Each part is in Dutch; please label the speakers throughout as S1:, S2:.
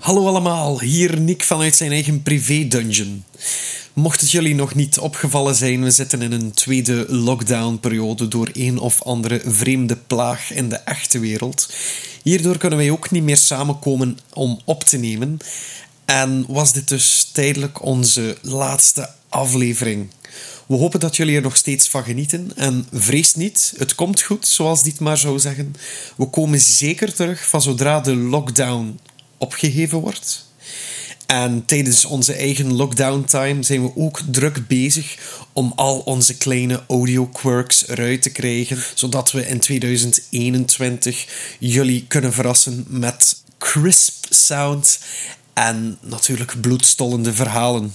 S1: Hallo allemaal, hier Nick vanuit zijn eigen privé-dungeon. Mocht het jullie nog niet opgevallen zijn, we zitten in een tweede lockdown-periode door een of andere vreemde plaag in de echte wereld. Hierdoor kunnen wij ook niet meer samenkomen om op te nemen. En was dit dus tijdelijk onze laatste aflevering. We hopen dat jullie er nog steeds van genieten. En vrees niet, het komt goed, zoals dit maar zou zeggen. We komen zeker terug van zodra de lockdown opgeheven wordt. En tijdens onze eigen lockdown time zijn we ook druk bezig om al onze kleine audio quirks eruit te krijgen, zodat we in 2021 jullie kunnen verrassen met crisp sound en natuurlijk bloedstollende verhalen.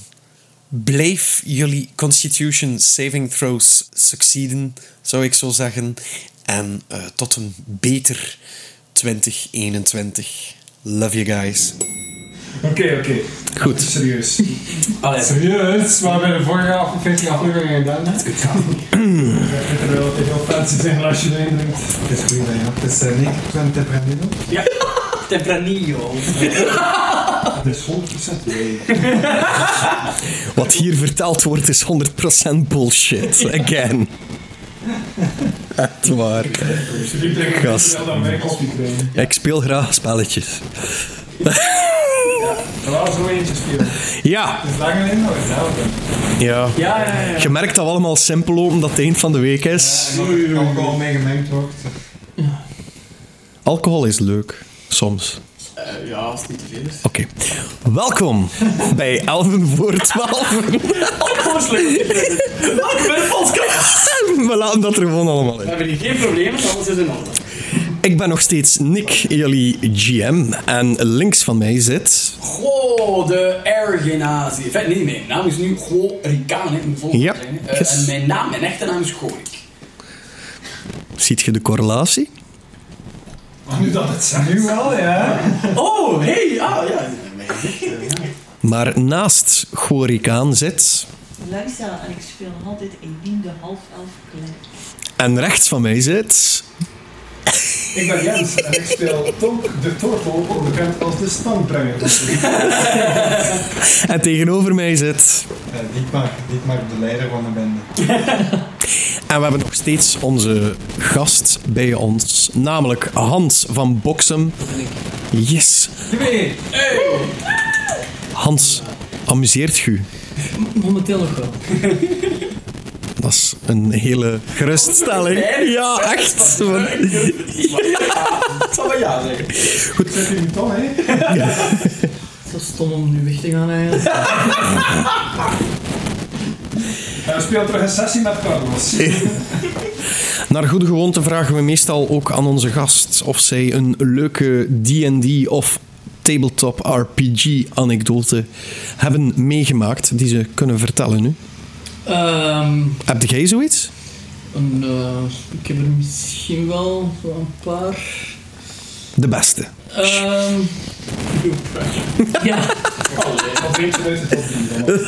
S1: Blijf jullie Constitution saving throws succeeden, zou ik zo zeggen. En eh, tot een beter 2021. Love you guys.
S2: Oké, oké.
S1: Goed.
S2: Serieus.
S3: Allee,
S2: Serieus, maar bij de vorige aflevering aflevering gedaan hebt. Ik vind het wel altijd heel fijn te zeggen als je erin drinkt. Het is goed, ja. Het is eh, Nick van Tempranillo.
S3: Tempranillo.
S2: Het is 100% nee.
S1: Wat hier verteld wordt is 100% bullshit. Again. Echt waar.
S2: Jullie drinken
S1: Gast.
S2: wel dan wij koffie krijgen.
S1: Ik speel graag spelletjes.
S2: Er waren zo eentje spelen. Het
S1: Ja.
S2: is langer in, maar hetzelfde.
S1: ja.
S3: Ja, ja, ja.
S1: Je merkt dat we allemaal simpel lopen dat het eind van de week is.
S2: Ik kan gewoon mee gemengd wordt.
S1: Alcohol is leuk. Soms.
S3: Eh, ja, als het niet te veel is.
S1: Oké. Welkom bij Elven voor 12.
S3: Oh,
S1: We laten dat er gewoon allemaal
S3: We
S1: in.
S3: hebben hier geen problemen, alles is in orde.
S1: Ik ben nog steeds Nick, jullie GM. En links van mij zit...
S3: Goh, de Ergenazi. Enfin, nee, mijn naam is nu Goh Rikaan, hè. Ik moet volgen
S1: Ja,
S3: zijn, hè. Eh,
S1: yes.
S3: En mijn naam, mijn echte naam is Gorik.
S1: Ziet je de correlatie?
S2: Nu dat het zijn. Nu wel, ja.
S3: Oh, hey, ah, ja. Mijn gezicht, eh, ja.
S1: Maar naast Gorikaan zit...
S4: Luister, en ik speel nog altijd Eline de half elf klein.
S1: En rechts van mij zit...
S2: Ik ben Jens en ik speel Tonk de Tortel, ook bekend als de standbrenger. Eh,
S1: En tegenover mij zit...
S2: Dietmar, Dietmar, de leider van de bende.
S1: En we hebben nog steeds onze gast bij ons. Namelijk Hans van Boksem. Yes.
S2: Twee!
S1: Hans, amuseert u?
S5: Momenteel nog wel.
S1: Dat is een hele geruststelling. Ja, echt.
S3: Ik zal wel ja zeggen.
S2: Ik zet u niet al, hè?
S5: Zo stom om nu weg te gaan eigenlijk.
S2: Hij speelt terug een sessie met Carlos.
S1: Naar goede gewoonte vragen we meestal ook aan onze gast of zij een leuke D&D of tabletop RPG-anekdote hebben meegemaakt die ze kunnen vertellen nu.
S5: Ehm,
S1: Heb jij zoiets?
S5: een, eh, ik heb er misschien wel zo een paar.
S1: De beste.
S5: Ehm, ja,
S2: Of eentje uit de top 3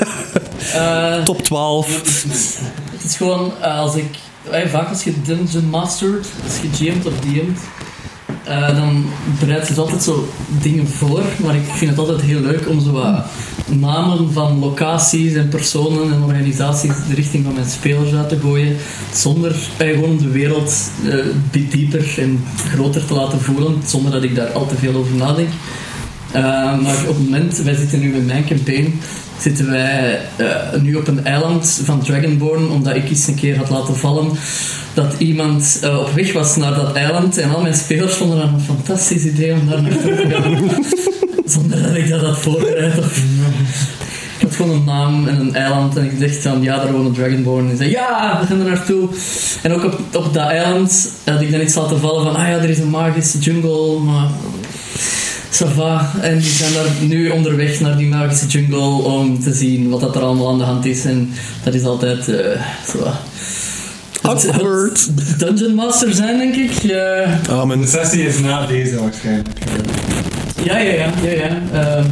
S2: dan.
S5: eh,
S1: Top 12.
S5: het is gewoon eh, als ik. eh, vaak als je dungeon mastert, als je GM't of DM't, eh, dan bereidt ze altijd zo dingen voor. Maar ik vind het altijd heel leuk om zo wat namen van locaties en personen en organisaties de richting van mijn spelers uit te gooien. Zonder eh, gewoon de wereld eh, die- dieper en groter te laten voelen, zonder dat ik daar al te veel over nadenk. Eh, maar op het moment, wij zitten nu met mijn campaign, zitten wij eh, nu op een eiland van Dragonborn, omdat ik eens een keer had laten vallen dat iemand eh, op weg was naar dat eiland en al mijn spelers vonden dat een fantastisch idee om daar naartoe te gaan. Zonder dat ik dat had voorbereid. Of... Ik had gewoon een naam en een eiland en ik dacht dan, ja, daar wonen Dragonborn. En ik zei, ja, we gaan er naartoe. En ook op, op dat eiland had ik dan iets laten vallen van, ah ja, er is een magische jungle, maar Sava. En die zijn daar nu onderweg naar die magische jungle om te zien wat dat er allemaal aan de hand is. En dat is altijd eh zo. Het- het
S1: Awkward.
S5: Dungeon Master zijn, denk ik. Eh,
S2: De
S1: Amen.
S2: sessie is na deze waarschijnlijk.
S5: ja, ja, ja. ja, ja.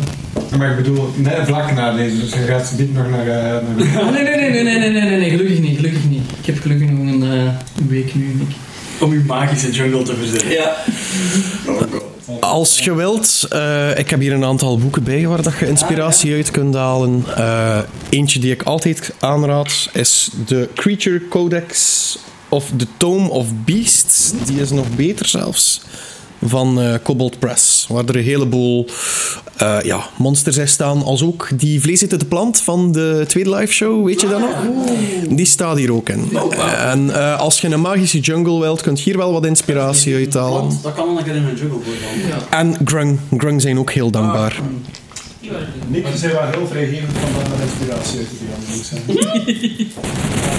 S5: Eh,
S2: Maar ik bedoel, net vlak na deze, dus je gaat niet nog naar... eh, naar...
S5: oh, nee, nee, nee, nee, nee, nee, nee, nee, nee, gelukkig niet, gelukkig niet. Ik heb gelukkig nog een eh, week nu, denk ik.
S3: Om uw magische jungle te verzinnen.
S5: Ja.
S3: Oh god.
S6: Als je wilt, eh, ik heb hier een aantal boeken bij waar dat je inspiratie uit kunt halen. Eh, eentje die ik altijd aanraad is de Creature Codex of The Tome of Beasts. Die is nog beter zelfs. Van eh Cobalt Press, waar er een heleboel eh, ja, monsters in staan. Als ook die vlees uit de plant van de tweede live show, weet je dat nog? Die staat hier ook in. En eh, als je een magische jungle wilt, kunt je hier wel wat inspiratie uithalen.
S3: Want dat kan wel een keer in een juggle worden.
S6: En Grung. Grung zijn ook heel dankbaar.
S7: Nick, je bent wel heel vrijgevend van dat inspiratie uit die andere zijn.
S3: Ah.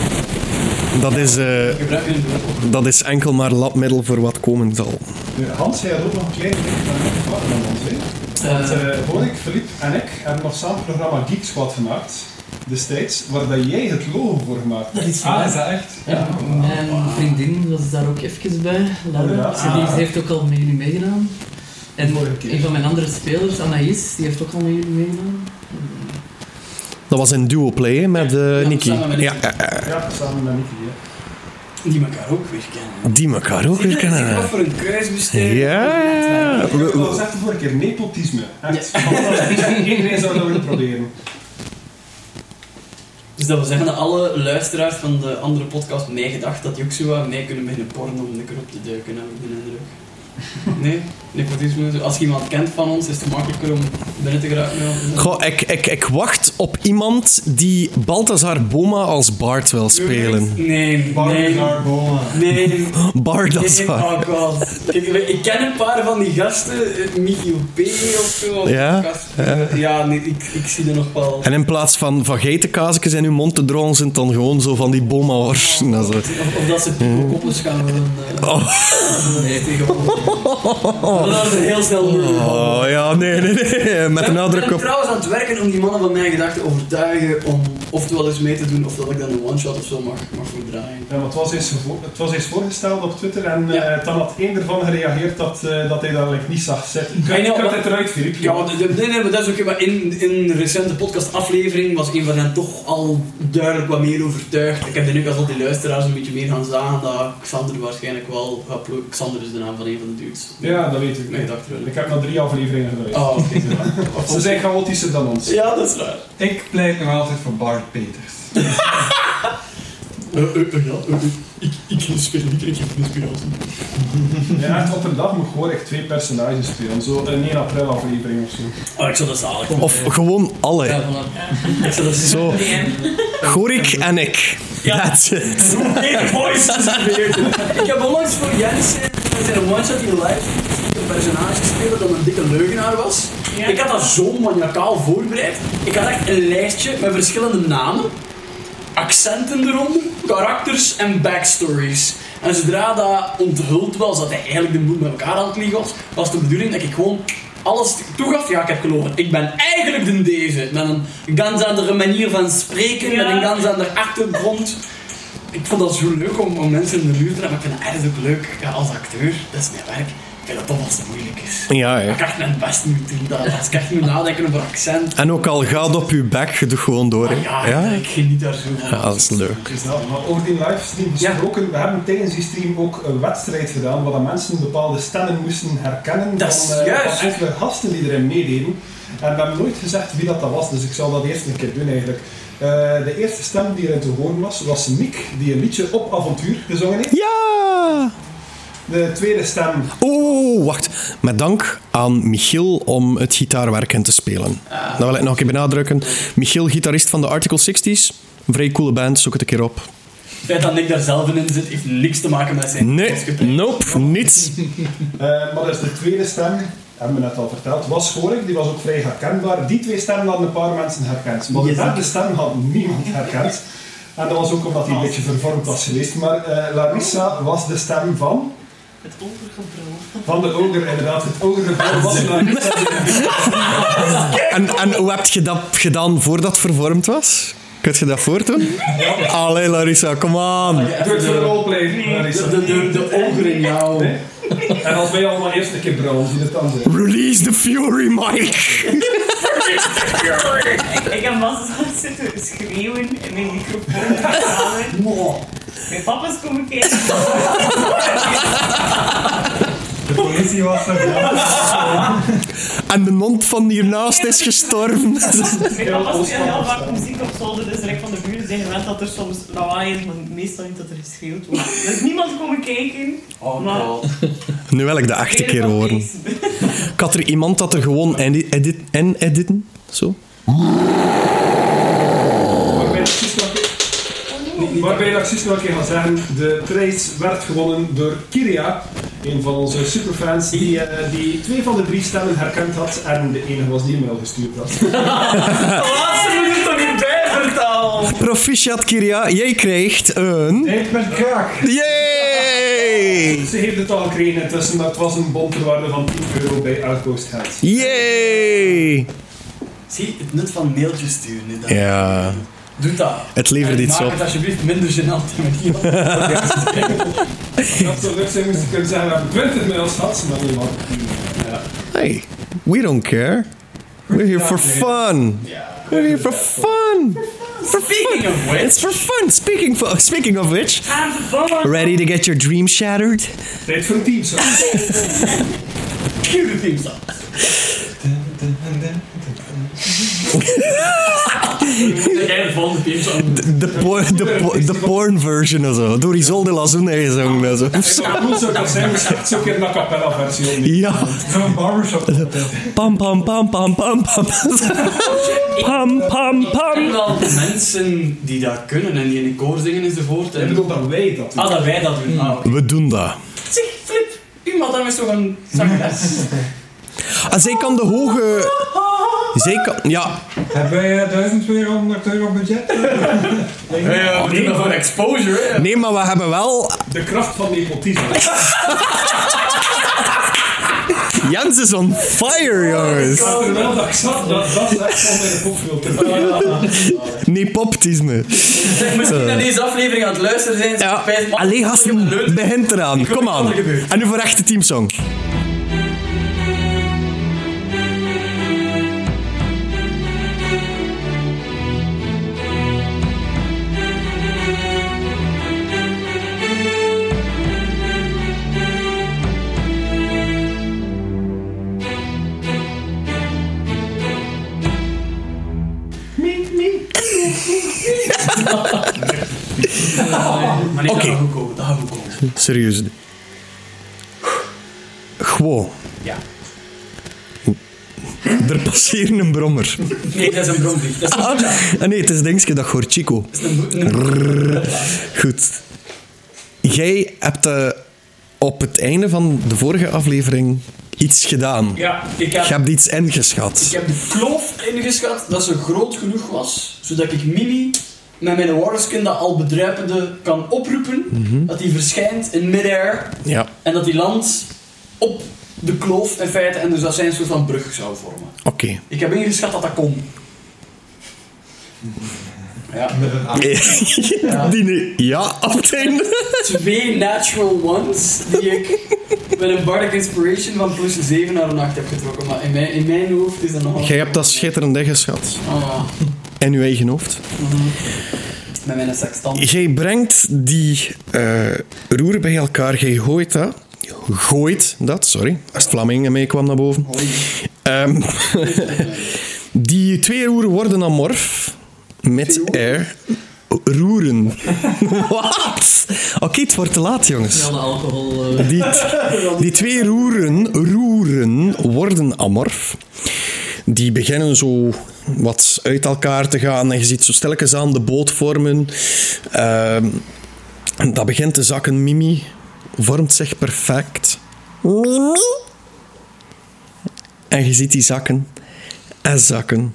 S6: Dat is, eh,
S3: Gebruik je een juggle.
S6: dat is enkel maar labmiddel voor wat komen zal.
S7: Nu, Hans, jij had ook nog een kleine blik van de partner van ons. hè? Want
S5: Eh.
S7: eh Borik, Filip en ik hebben nog samen het programma Geek Squad gemaakt. Destijds, waar dat jij het logo voor gemaakt hebt.
S2: Ah,
S5: waar.
S7: is dat echt?
S5: Ja, mijn vriendin was daar ook even bij, Laura.
S7: Inderdaad.
S5: Die heeft ook al met jullie meegedaan. En
S7: Mooie keer.
S5: een van mijn andere spelers, Anaïs, die heeft ook al met jullie meegedaan.
S6: Dat was een duo play hè, met eh
S3: Ja,
S6: Nicky.
S3: samen met
S6: Ja,
S3: Nicky.
S6: eh, eh,
S7: Ja, samen met Nicky. hè.
S3: Die elkaar ook weer kennen.
S6: die elkaar ook weer
S3: Zie je Wat
S6: kennen.
S3: voor een kruis besteed.
S6: Ja.
S7: Ik heb het al gezegd de vorige keer, nepotisme. Echt. Fantastisch. Iedereen zou dat willen proberen.
S3: Dus dat we zeggen dat alle luisteraars van de andere podcast meegedacht dat die ook zo wat mee kunnen beginnen porno om lekker op te duiken, heb ik de indruk. Nee? Nepotisme? zo. Als je iemand kent van ons, is het makkelijker om binnen te geraken. ja.
S6: Goh, ik, ik, ik wacht op iemand die Balthazar Boma als Bart wil spelen.
S3: Nee, nee,
S7: Barbara Boma.
S3: nee. Nee,
S6: Bardazar.
S3: oh god. Kijk, ik ken een paar van die gasten, eh, Mickey P of zo. of
S6: Ja,
S3: gast-
S6: ja.
S3: ja nee, ik, ik zie er nog wel.
S6: En in plaats van, van geitenkaasjes in uw mond te drogen, zijn het dan gewoon zo van die Boma-worsten. en zo.
S3: Of, of dat ze koppels gaan willen. eh,
S6: Oh.
S3: Nee, tegenwoordig. Dat is een heel snel moeilijk.
S6: Oh ja, nee, nee, nee. Met een nadruk
S3: Ik
S6: op
S3: ben trouwens aan het werken om die mannen van mijn gedachten te overtuigen om oftewel eens mee te doen of dat ik dan een one-shot of zo mag, mag voor draaien.
S7: Ja, want het, was eens gevo- het was eens voorgesteld op Twitter en eh
S3: Ja.
S7: dan had één ervan gereageerd dat, eh, dat hij dat eigenlijk niet zag zitten.
S3: Ja,
S7: Kun
S3: ja,
S7: je
S3: maar-
S7: het eruit, Filip?
S3: Ja, want- nee, nee, maar dat is ook. Maar in, in een recente podcastaflevering was een van hen toch al duidelijk wat meer overtuigd. Ik heb er nu als al die luisteraars een beetje meer gaan zagen dat Xander waarschijnlijk wel. gaat plo- Xander is de naam van een van de dudes.
S7: Ja, dat weet ik.
S3: Nee, dacht wel.
S7: Ik heb nog drie afleveringen gedraaid.
S3: Oh, oké.
S7: Ze zijn chaotischer dan ons.
S3: ja, dat is waar.
S2: Ik pleit nog altijd voor Bart Peters.
S3: Eh, eh, eh, ja, eh, eh. Ik, ik kan spelen, ik krijg geen inspiratie.
S7: Ja, echt op een dag moet je gewoon echt twee personages spelen. Zo een 1 april aflevering of zo.
S3: Oh, ik zou dat zalig vinden.
S6: Of gewoon alle.
S5: Ja, voilà.
S3: Ik zou dat zo.
S6: Zo, Gorik en ik. That's it.
S3: Hey, boys! ik heb onlangs voor Jens met zijn one-shot in live een personage gespeeld dat een dikke leugenaar was. Ik had dat zo maniacaal voorbereid. Ik had echt een lijstje met verschillende namen, accenten eronder, karakters en backstories. En zodra dat onthuld was dat hij eigenlijk de boel met elkaar aan het liegen was, was de bedoeling dat ik gewoon alles toegaf. Ja, ik heb gelogen. Ik ben eigenlijk de deze. Met een ganz andere manier van spreken, met een ganz andere achtergrond. Ik vond dat zo leuk om, om mensen in de muur te hebben. Ik vind het erg ook leuk ja, als acteur. Dat is mijn werk. Ik vind dat toch als het moeilijk is.
S6: Ja,
S3: Ik
S6: ja.
S3: kan echt mijn best niet doen. Dat, als ik echt moet nadenken over accent.
S6: En ook al gaat op uw bek, je doet gewoon door.
S3: Ah,
S6: hè.
S3: ja,
S6: Ja,
S3: ik geniet daar zo van.
S6: ja dat is leuk.
S7: Dus dat, maar over die livestream gesproken, we hebben tijdens die stream ook een wedstrijd gedaan waar dat mensen bepaalde stemmen moesten herkennen
S3: Dat is
S7: van, eh,
S3: juist.
S7: van enkele gasten die erin meededen. En we hebben nooit gezegd wie dat, dat was, dus ik zal dat eerst een keer doen eigenlijk. Eh, de eerste stem die erin te horen was, was Nick, die een liedje op avontuur gezongen heeft.
S6: Ja!
S7: De tweede stem
S6: Oh, wacht. Met dank aan Michiel om het gitaarwerk in te spelen. Dat wil ik nog een keer benadrukken. Michiel, gitarist van de Article 60s. Een vrij coole band, zoek het een keer op.
S3: Het feit dat ik daar zelf in zit, heeft niks te maken met zijn
S6: Nee,
S3: kostgebrek.
S6: nope, niets.
S7: Eh, maar dus de tweede stem, hebben we net al verteld, was Gorik, die was ook vrij herkenbaar. Die twee stemmen hadden een paar mensen herkend. Maar de
S3: Yes.
S7: derde stem had niemand herkend. En dat was ook omdat hij een beetje vervormd was geweest. Maar eh, Larissa was de stem van...
S4: Het overgebrul.
S7: Van de oger, inderdaad. Het ogergevoel was Larissa.
S6: En, en hoe heb je dat gedaan voordat het vervormd was? Kun je dat voortdoen? Allee, Larissa, kom aan.
S7: Doe het voor de roleplay, Larissa.
S3: De, de, de, de ogen in jou.
S7: Nee. En als wij allemaal eerst een keer brouwen, die het dan zijn.
S6: Release the fury, Mike.
S4: Ik heb vast eens zitten schreeuwen in mijn microfoon. Mijn papa's komen kijken.
S7: De koning
S2: politie was er.
S1: En de mond van hiernaast is gestorven.
S4: Ik had altijd heel vaak muziek op zolder, dus direct van de buren zijn gewend dat er soms lawaai is, maar meestal niet dat er geschreeuwd wordt. Er is niemand komen kijken.
S2: Oh
S4: Maar-
S2: god.
S1: Nu wil ik de achtste keer
S4: Helemaal
S1: horen.
S4: niks.
S1: Ik had er iemand dat er gewoon edi- edit en editen. Zo.
S7: Waarbij ik precies nog een keer- Waarbij ik precies nog een keer ga zeggen, de prijs werd gewonnen door Kiria, een van onze superfans, die, eh, die twee van de drie stemmen herkend had en de enige was die een mail gestuurd had.
S3: Laatste minuut er weer bij vertaald.
S1: Proficiat Kiria, jij krijgt een.
S2: Ik ben kraak.
S1: Yay!
S7: Ze heeft het al gekregen intussen, maar het was een bon ter waarde van 10 euro bij Outpost Head.
S1: Yay!
S3: Zie, het nut van mailtjes sturen. hè, dat-
S1: Ja,
S3: Doe dat.
S1: het levert
S3: En
S1: iets
S3: maak
S1: op.
S3: het alsjeblieft minder gênant met iemand.
S7: Dat zou leuk zijn moest ik kunnen zeggen, we hebben 20 mails gehad, maar niemand.
S1: Hey, we don't care. We're here for fun. We're here for fun. For
S3: Speaking
S1: fun.
S3: of which,
S1: It's for fun. Speaking, fo- speaking of which,
S4: Aan de bommen.
S1: ready to get your dream shattered?
S7: Tijd voor een team, zo.
S3: cute team zat. Jij de volgende team zat.
S1: De, por- de, por- de porn version of zo. Door Isolde Lazuna gezongen en zo.
S7: Het zou cool zo kunnen zijn, misschien zo'n keer een a cappella versie opnemen.
S1: Ja.
S2: Zo'n barbershop.
S1: Pam, pam, pam, pam, pam, pam. Pam, pam,
S3: Ik
S1: pam.
S3: ken wel mensen die dat kunnen en die in een koor zingen enzovoort.
S7: Ik
S3: En...
S7: bedoel dat wij dat doen.
S3: Ah, dat wij dat doen. Ah, oké.
S1: We doen dat.
S3: Zeg, Flip, uw madame is toch een zangeres?
S1: Ah, zij kan de hoge... Zij kan... Ja.
S2: Hebben wij eh, 1200 euro budget?
S3: Ja, we doen dat voor exposure, hè.
S1: Nee, maar we hebben wel...
S7: De kracht van nepotisme.
S1: Jens is on fire, jongens.
S7: Terwijl dat ik zat, dat, dat is echt van mijn popfilter.
S1: Nee, poptisme.
S3: Zeg, misschien naar deze aflevering aan het luisteren zijn. ze
S1: Ja.
S3: spijt-
S1: Allee, gasten, begint eraan.
S3: weet
S1: Kom
S3: niet wat
S1: aan.
S3: er gebeurt.
S1: En nu voor echte teamsong.
S3: Maar nee,
S1: Oké.
S3: dat gaat goed komen, dat gaat goed komen.
S1: Serieus. Gewoon.
S3: Ja.
S1: Er passeren een brommer.
S3: Nee, dat is een bromvlieg. Dat is
S1: Ah, ah, nee, het is Dingske, dat hoort Chico.
S3: een- een-
S1: Goed. Jij hebt eh, op het einde van de vorige aflevering iets gedaan.
S3: Ja, ik
S1: Je
S3: heb,
S1: hebt iets ingeschat.
S3: ik heb de kloof ingeschat dat ze groot genoeg was, zodat ik Mimi met mijn waterskin dat al bedruipende kan oproepen,
S1: Mhm.
S3: dat die verschijnt in midair
S1: Ja,
S3: en dat die landt op de kloof in feite en dus dat zij een soort van brug zou vormen.
S1: oké.
S3: Ik heb ingeschat dat dat kon. Ja.
S1: Die nee. Eh, Ja, op het einde.
S3: Twee natural ones die ik met een bardic inspiration van plus 7 naar een 8 heb getrokken, maar in mijn, in mijn hoofd is dat nogal...
S1: Jij hebt dat schitterend ingeschat.
S3: Ah,
S1: In je eigen hoofd.
S3: met mijn sextant.
S1: Jij brengt die eh, roeren bij elkaar. Jij gooit dat. Gooit dat, sorry. Als het Vlamingen mee kwam naar boven. Ehm, die twee roeren worden amorf. Met air. Roeren. Wat? Oké, het wordt te laat, jongens.
S8: Ja, de alcohol. eh,
S1: Die, die twee roeren, roeren worden amorf. Die beginnen zo wat uit elkaar te gaan. En je ziet zo stilletjes aan de boot vormen. Ehm, en dat begint te zakken. Mimi vormt zich perfect. Mimi? En je ziet die zakken. En zakken.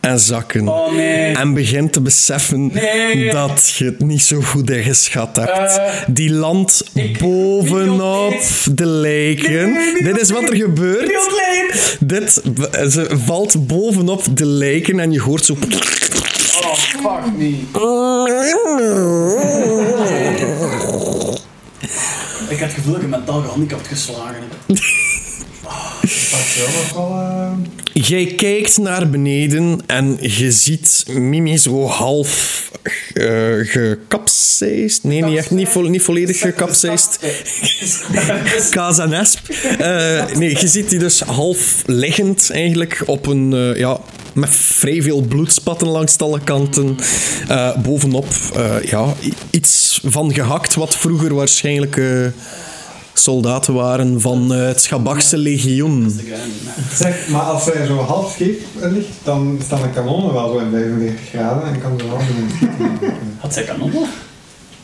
S1: En zakken.
S3: Oh nee.
S1: En begint te beseffen
S3: Nee.
S1: dat je het niet zo goed ingeschat hebt.
S3: Eh.
S1: die landt
S3: Ik-
S1: bovenop
S3: Niet
S1: de lijken.
S3: Nee, niet
S1: Dit is wat er gebeurt. Dit, ze valt bovenop de lijken en je hoort zo...
S3: Oh, fuck me.
S1: Oh.
S3: Ik had het gevoel dat ik mentaal gehandicapt geslagen heb.
S2: Dat was wel... eh,
S1: Jij kijkt naar beneden en je ziet Mimi zo half eh gekapseist. Nee, niet, echt, niet, vo- niet volledig gekapseist. Kaas en esp. Eh, nee, je ziet die dus half liggend eigenlijk op een... eh, ja, met vrij veel bloedspatten langs alle kanten. Eh, bovenop eh, ja, i- iets van gehakt wat vroeger waarschijnlijk... eh, soldaten waren van eh, het Schabachse legioen.
S3: eh,
S2: Zeg, maar als zij zo half scheef ligt, dan staan de kanonnen wel zo in 45 graden en kan ze wel doen.
S3: Had zij kanon?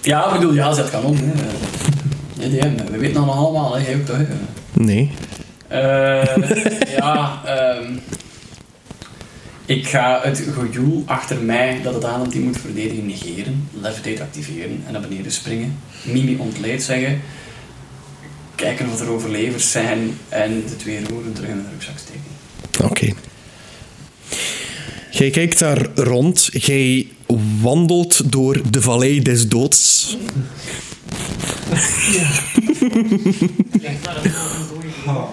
S3: Ja, ik bedoel, ja, ze had kanon. Hè. Nee, die hebben we. We weten dat nog allemaal, hè. jij ook toch? hè.
S1: Nee.
S3: Eh, ja, ehm, ik ga het gejoel achter mij dat het aan die moet verdedigen negeren, levitate activeren en naar beneden springen, Mimi ontleed zeggen, kijken wat er overlevers zijn en de twee roeren terug in de rugzak steken.
S1: Oké. Jij kijkt daar rond. Jij wandelt door de vallei des doods.
S4: Blijkbaar is dat een dode.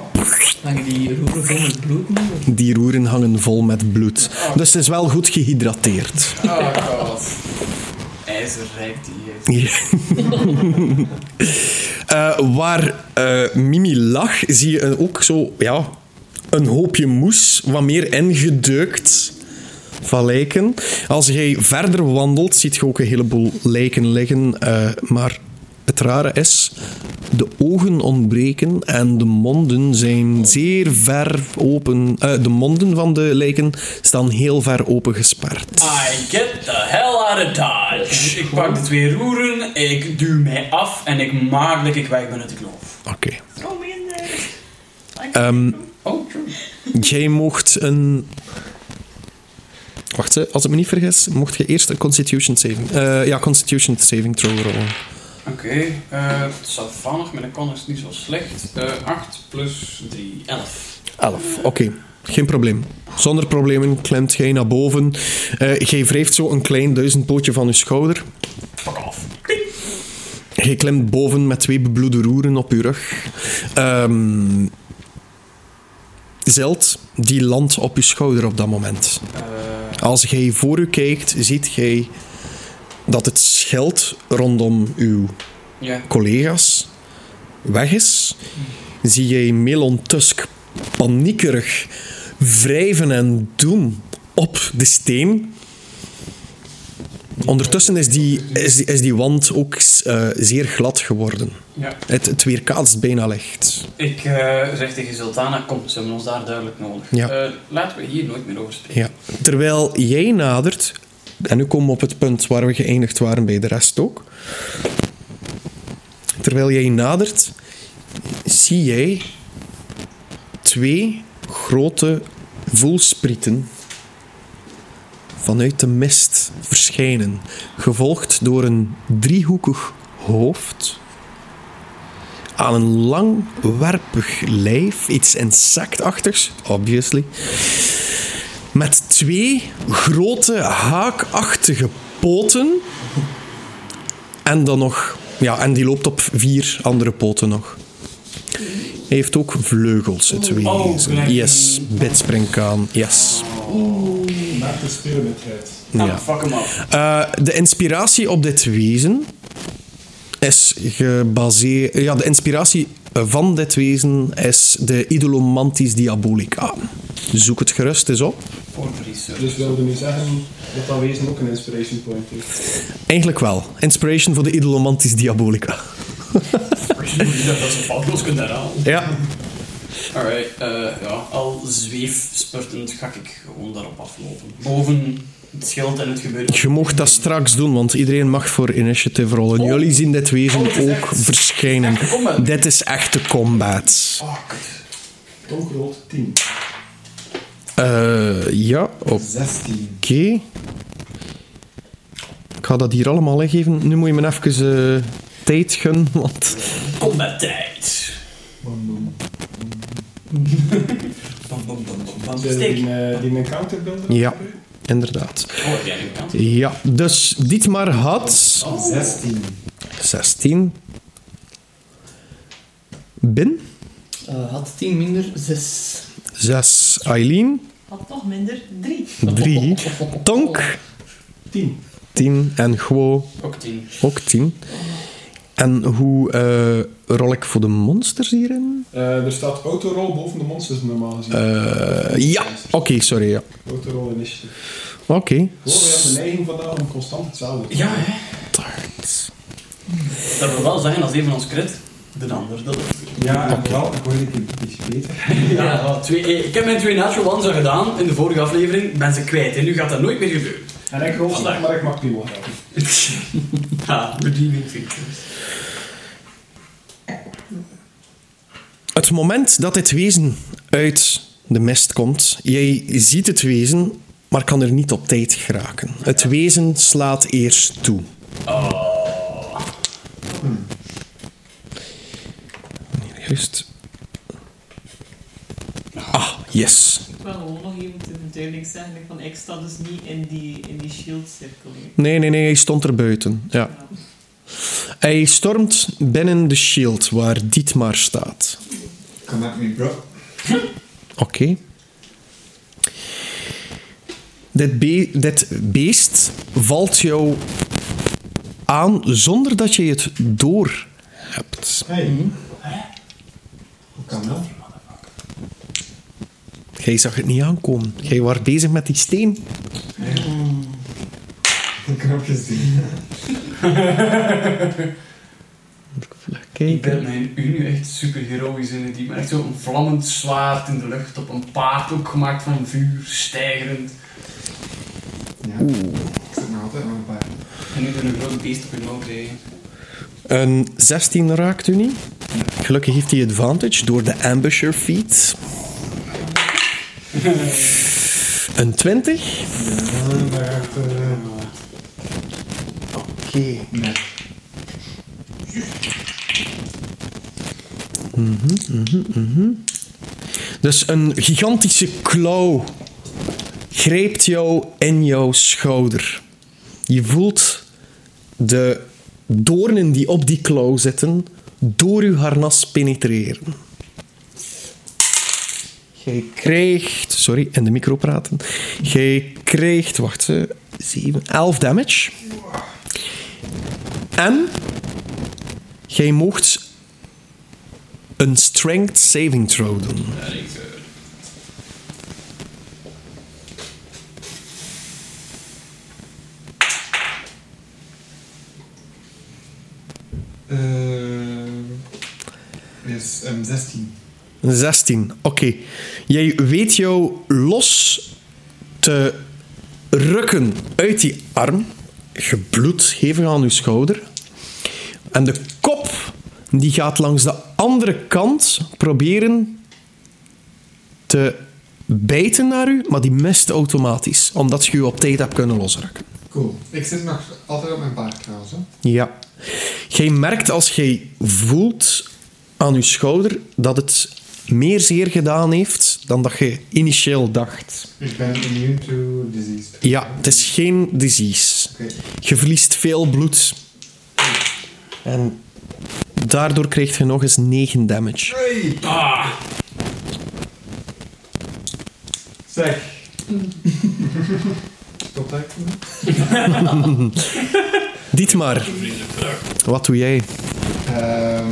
S5: Hangen die roeren vol met bloed nu? of-
S1: Die roeren hangen vol met bloed. Dus het is wel goed gehydrateerd.
S3: Oh god. IJzerrijk die heeft.
S1: Ja. Eh, waar eh, Mimi lag, zie je een- ook zo ja, een hoopje moes, wat meer ingedeukt van lijken. Als jij verder wandelt, ziet je ook een heleboel lijken liggen. eh, maar het rare is, de ogen ontbreken en de monden zijn zeer ver open. Eh, de monden van de lijken staan heel ver open gesperd.
S3: I get the hell out of dodge. Ik pak de twee roeren, ik duw mij af en ik maak dat ik weg ben uit de kloof.
S1: Oké.
S4: Kom in. eh.
S1: Ehm,
S3: Oh, true.
S1: Jij mocht een. Wacht, hè, als ik me niet vergis, mocht je eerst een Constitution saving. eh, ja, Constitution saving throw rollen.
S3: Oké, eh het staat vannig, maar de kon is niet zo slecht. Eh 8 plus 3, 11.
S1: 11. Oké, geen probleem. Zonder problemen klemt jij naar boven. Eh jij wrijft zo een klein duizendpootje van je schouder.
S3: Fuck off.
S1: Jij klemt boven met twee bebloede roeren op je rug. Ehm Zeld, die landt op je schouder op dat moment. Als jij voor u kijkt, ziet jij dat het schild rondom uw
S3: Ja.
S1: collega's weg is. Zie jij Melon Tusk paniekerig wrijven en doen op de steen. Ondertussen is die, is die, is die wand ook eh, zeer glad geworden.
S3: ja.
S1: Het, het weerkaatst bijna licht.
S3: Ik eh zeg tegen Sultana, kom, ze hebben ons daar duidelijk nodig.
S1: Ja.
S3: Eh, laten we hier nooit meer over spreken.
S1: Ja. Terwijl jij nadert, en nu komen we op het punt waar we geëindigd waren bij de rest ook. Terwijl jij nadert, zie jij twee grote voelsprieten vanuit de mist verschijnen, gevolgd door een driehoekig hoofd. Aan een lang, werpig lijf, iets insectachtigs, obviously met twee grote haakachtige poten. En dan nog, ja, en die loopt op vier andere poten nog. Hij heeft ook vleugels, het wezen.
S3: gelijk.
S1: yes, bidspringkaan, yes.
S9: Maak de spelermetheid.
S3: Ah,
S1: Ja.
S3: fuck hem af.
S1: Eh, de inspiratie op dit wezen is gebaseerd. Ja, de inspiratie van dit wezen is de Idolomantis Diabolica. Zoek het gerust eens op.
S3: Voor de research.
S9: Dus wilde nu zeggen dat dat wezen ook een inspiration point heeft.
S1: Eigenlijk wel. Inspiration voor de Idolomantis Diabolica.
S3: Ik dacht dat ze padloos kunnen herhalen.
S1: Ja.
S3: Alright, eh, ja, al zweefspurtend ga ik gewoon daarop aflopen. Boven het schild en het gebeuren.
S1: Je mocht dat straks doen, want iedereen mag voor initiative rollen.
S3: Oh.
S1: Jullie zien dit wezen
S3: Oh, het is
S1: ook
S3: echt-
S1: verschijnen.
S3: echte combat.
S1: Dit is echte combat.
S3: Fuck.
S9: Tom Groot, 10.
S1: Eh, ja, oké.
S2: 16.
S1: Ik ga dat hier allemaal weggeven. Nu moet je me even eh, tijd gunnen, want...
S3: Combat tijd. Bam, bam, bam, bam, bam.
S9: Die,
S3: Steek.
S9: die, eh, die encounter builder?
S1: Ja, inderdaad.
S3: Oh, heb jij nu kans?
S1: Ja, dus Dietmar had...
S3: Oh.
S2: 16.
S1: 16. Bin?
S5: Eh, had 10 minder, 6.
S1: Zes. Eileen.
S4: Had nog minder, drie.
S1: Drie. Tonk.
S7: Tien.
S1: Tien. En Guo.
S3: Ook 10.
S1: Ook tien. En hoe eh, rol ik voor de monsters hierin?
S7: Eh, er staat autorol boven de monsters normaal gezien.
S1: Eh, ja. Oké, sorry. Ja.
S7: Autorol initiative.
S1: Oké.
S7: Gewoon, we hebben de neiging vandaag om constant hetzelfde te
S3: Ja, hè.
S10: Dat wil wel zeggen, als een van ons crit, de ander. Dat
S2: Ja, en wel, ik hoorde ik het iets beter.
S10: ja. twee, eh, ik heb mijn twee natural ones al gedaan in de vorige aflevering. Ben ze kwijt en nu gaat dat nooit meer gebeuren.
S7: doen. En ik rol slecht, maar ik mag niet wel helpen.
S10: Ha, redeeming features.
S1: Het moment dat dit wezen uit de mist komt, jij ziet het wezen, maar kan er niet op tijd geraken. Het wezen slaat eerst toe. Oh. Juist. Ah, yes.
S4: Ik wil gewoon nog even te verduidelijk zeggen van ik sta dus niet in die, in die shieldcirkel. hè.
S1: Nee, nee, nee, hij stond er buiten. Ja. Hij stormt binnen de shield waar Dietmar staat.
S2: Come at me, bro.
S1: Oké. Dit, be- dit beest valt jou aan zonder dat je het door hebt.
S2: Hey. Hoe kan dat?
S1: Jij zag het niet aankomen. Jij was bezig met die steen.
S2: De knopjes die.
S3: Ik
S1: Kijk.
S3: ben mijn u nu echt super heroïs in die maar echt zo'n vlammend zwaard in de lucht op een paard ook gemaakt van vuur, stijgerend.
S2: Ja. Ik zit nog altijd aan een paar.
S3: En nu er een groot beest op hun hoofd tegen.
S1: Een 16 raakt u niet. Gelukkig heeft hij advantage door de ambusher feat. Een 20.
S2: Ja, daar gaat eh,
S1: Oké.
S2: Nee.
S1: Dus een gigantische klauw grijpt jou in jouw schouder. Je voelt de doornen die op die klauw zitten door uw harnas penetreren. Jij krijgt... Sorry, in de micro praten. Jij krijgt... Wacht, 7, 11 damage. En... Jij moogt een strength saving throw doen.
S2: eh is ehm 16.
S1: Een 16, oké. Jij weet jou los te rukken uit die arm. Gebloed hevig aan uw schouder. En de kop die gaat langs de andere kant proberen te bijten naar u, maar die mist automatisch, omdat je je op tijd hebt kunnen losrukken.
S2: Cool. Ik zit nog altijd op mijn paard trouwens. Hè.
S1: Ja. Jij merkt als jij voelt aan je schouder dat het meer zeer gedaan heeft dan dat je initieel dacht.
S2: Ik ben immune to disease.
S1: Ja, het is geen disease.
S2: Oké.
S1: Je verliest veel bloed. En daardoor krijg je nog eens 9 damage.
S2: Hey!
S10: Ah,
S2: Zeg. Stop dat ik doe?
S1: Dietmar, wat doe jij?
S2: Ehm,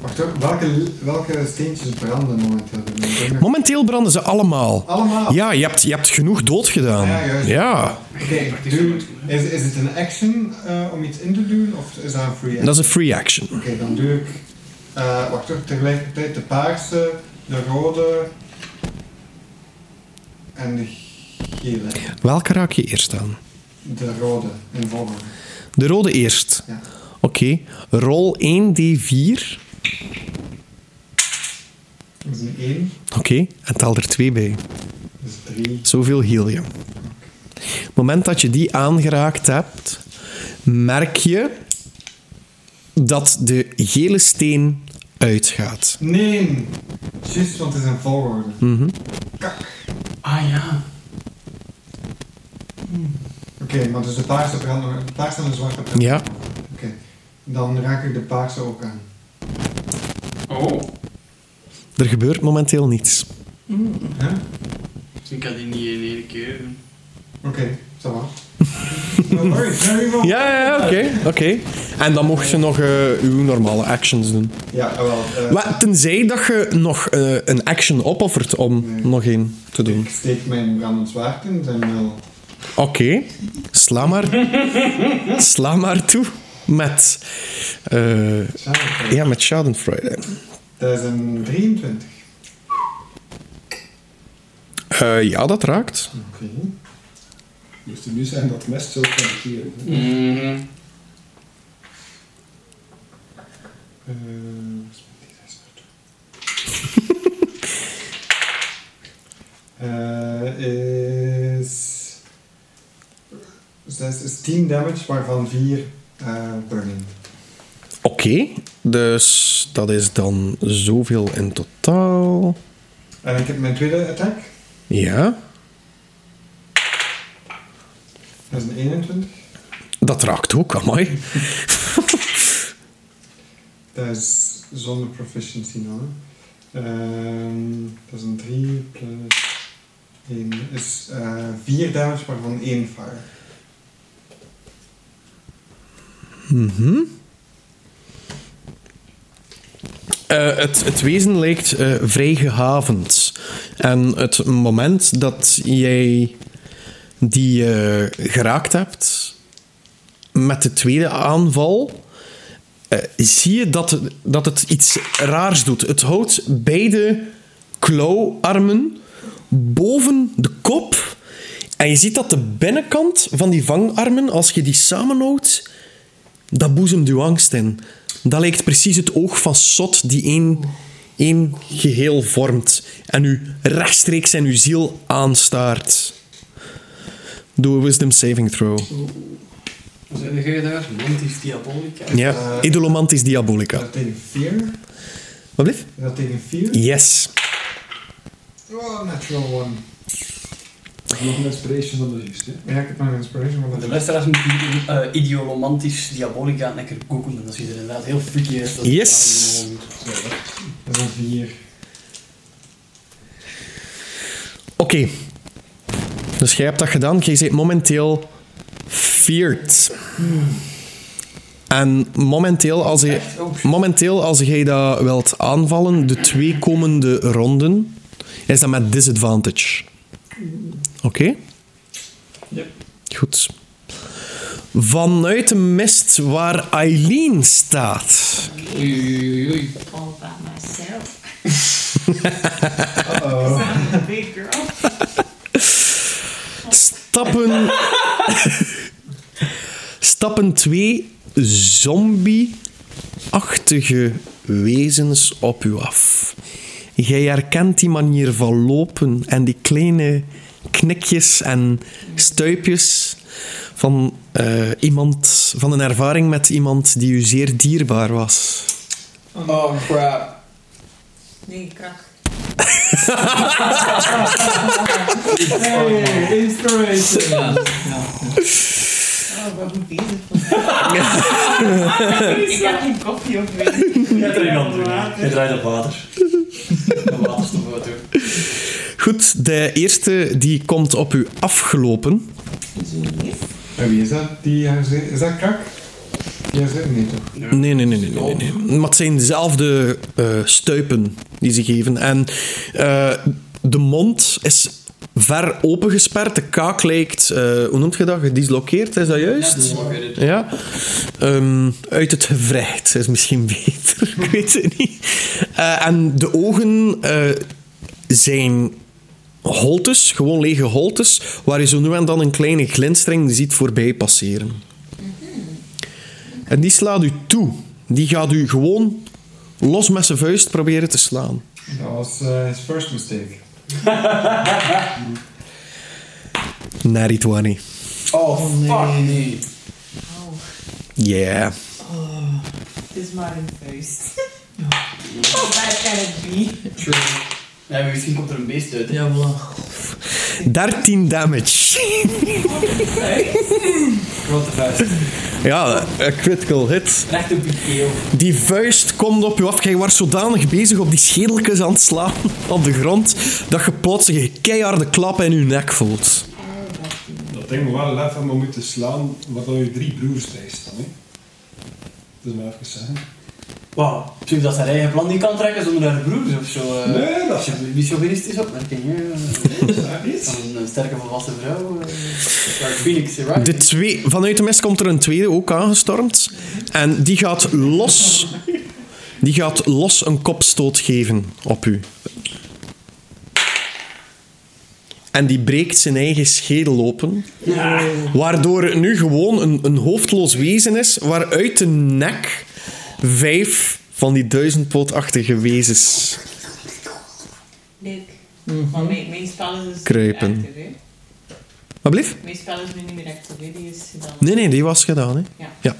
S2: Wacht hoor, welke, welke steentjes branden momenteel? Ik denk nog-
S1: Momenteel branden ze allemaal.
S2: Allemaal?
S1: Ja, je hebt, je hebt genoeg dood gedaan.
S2: Ja, juist.
S1: Ja.
S2: Oké, doe- is, is het een action eh, om iets in te doen of is dat een free action?
S1: dat is een free action.
S2: Oké, dan doe ik. eh, wacht hoor, tegelijkertijd de paarse, de rode en de gele.
S1: Welke raak je eerst aan?
S2: De rode in volgorde.
S1: De rode eerst.
S2: Ja.
S1: Oké, rol 1d4.
S2: Dat is een 1,
S1: Oké, en tel er 2 bij.
S2: dat is 3.
S1: Zoveel hiel je. het moment dat je die aangeraakt hebt, merk je dat de gele steen uitgaat.
S2: Nee! Juist, want het is in volgorde.
S1: Mhm.
S2: Kak!
S3: Ah ja.
S2: Oké, maar dus de paarse brandt nog. De paarse en de zwarte brandt
S1: Ja.
S2: nog. Oké, dan raak ik de paarse ook aan.
S3: Oh.
S1: Er gebeurt momenteel niets.
S3: Dus Ik kan die niet in één keer doen.
S2: Oké, ça va. No worries, very well.
S1: Ja, ja, ja, oké. oké. En dan mocht je nog eh, uw normale actions doen.
S2: Ja, ah, wel. eh,
S1: Wel, tenzij dat je nog eh, een action opoffert om
S2: Nee.
S1: nog één te doen.
S2: ik steek mijn brandend zwaard in zijn wil.
S1: Oké, sla maar. sla maar toe met. eh,
S2: Zalig.
S1: ja, met Schadenfreude.
S2: Dat is een 23.
S1: Eh, ja, dat raakt.
S2: Oké.
S7: Moest nu zijn dat mest zo kan keren.
S3: Mhm.
S2: Eh, Eh, is... Zes is 10 damage, waarvan 4 eh burning.
S1: Oké, dus dat is dan zoveel in totaal.
S2: En ik heb mijn tweede attack.
S1: Ja,
S2: Dat is een 21.
S1: dat raakt ook, amai.
S2: Dat is zonder proficiency nou. hè. Ehm, dat is een 3 plus 1. is eh 4 damage, waarvan 1 fire.
S1: Mhm. Eh, het, het wezen lijkt eh, vrij gehavend. En het moment dat jij die eh, geraakt hebt met de tweede aanval, eh, zie je dat, dat het iets raars doet. Het houdt beide klauwarmen boven de kop. En je ziet dat de binnenkant van die vangarmen, als je die samenhoudt, dat boezemt uw angst in. Dat lijkt precies het oog van Sot die één, één geheel vormt en u rechtstreeks in uw ziel aanstaart. Doe een wisdom saving throw.
S3: Zijn jij daar? Montief Diabolica.
S1: Ja, idolomantisch
S2: Is
S1: diabolica.
S2: dat tegen 4? Is
S1: Wat blijft?
S2: dat tegen 4?
S1: Yes.
S2: Oh, natural one.
S7: Dat is nog een inspiration van de juist, hè?
S2: Ja, ik heb mijn inspiration, want dat
S3: De
S2: is
S3: luisteraars moeten die eh, ideolomantisch Diabolica lekker googlen. Dat ziet er inderdaad heel freaky uit. Dat
S1: Yes.
S2: dat is een 4.
S1: Oké. Dus jij hebt dat gedaan. Jij bent momenteel feared. En momenteel als, je, momenteel als jij dat wilt aanvallen, de twee komende ronden, is dat met disadvantage. Oké? Goed. Vanuit de mist waar Eileen staat.
S5: Oei, oei, oei, oei.
S4: All by myself.
S2: Uh-oh.
S4: I'm a big girl.
S1: Stappen. stappen twee zombie-achtige wezens op u af. Jij herkent die manier van lopen en die kleine knikjes en stuipjes van, eh, iemand, van een ervaring met iemand die u zeer dierbaar was.
S10: Oh crap.
S4: Nee, krak.
S2: Hey, inspiration!
S5: Ja, ja.
S4: Oh, wat goed bezig. Ik heb geen koffie of weet
S3: Je draait op water. Op water is toch wat hoor.
S1: Goed, de eerste die komt op u afgelopen.
S2: En wie is dat? Die haar zin- Is dat krak? Die haar zin niet toch?
S1: Nee, nee, nee, nee, nee, nee. nee. Maar het zijn dezelfde eh, stuipen die ze geven. En eh, de mond is ver opengesperd. De kaak lijkt, eh, hoe noemt je dat? Gedislokeerd, is dat juist? Ja. Ehm, uit het gewricht is misschien beter. Ik weet het niet. Eh, en de ogen eh, zijn holtes, gewoon lege holtes, waar je zo nu en dan een kleine glinstering ziet voorbij passeren. En die slaat u toe. Die gaat u gewoon los met zijn vuist proberen te slaan.
S2: Dat was eh, his first mistake.
S1: Nari 20.
S10: Oh fuck nee.
S1: Yeah.
S4: Oh, het is maar een vuist. Oh, that can it be?
S3: Ja, misschien komt er een beest uit. hè.
S5: Ja, voilà.
S1: 13 damage.
S3: Grote vuist.
S1: Ja, een critical hit.
S3: Recht op je keel.
S1: Die vuist komt op je af. Jij was zodanig bezig op die schedeltjes aan het slaan op de grond, dat je plots een keiharde klap in je nek voelt.
S7: Dat ding moet wel lef hebben moeten slaan, wat dan je drie broers bij staan. hè. Dat is maar even zeggen.
S3: Wauw. Zeg dat ze haar eigen plan niet kan trekken zonder haar broers of zo. eh.
S7: Nee, dat is-
S3: Chau- Die chauvinistisch opmerking, hè.
S7: Iets?
S3: Van een sterke volwassen vrouw. eh. Dark Phoenix, right?
S1: De twee, vanuit de mist komt er een tweede ook aangestormd. En die gaat los. Die gaat los een kopstoot geven op u. En die breekt zijn eigen schedel open. Waardoor het nu gewoon een, een hoofdloos wezen is. Waaruit de nek vijf van die duizendpootachtige wezens
S4: Leuk. Want mijn, mijn spel is dus
S1: Kruipen.
S4: niet meer actief, hè.
S1: Wat blief?
S4: Mijn spel is nu niet meer actief, hè. die is gedaan.
S1: Nee, nee, die was gedaan. Hè?
S4: Ja.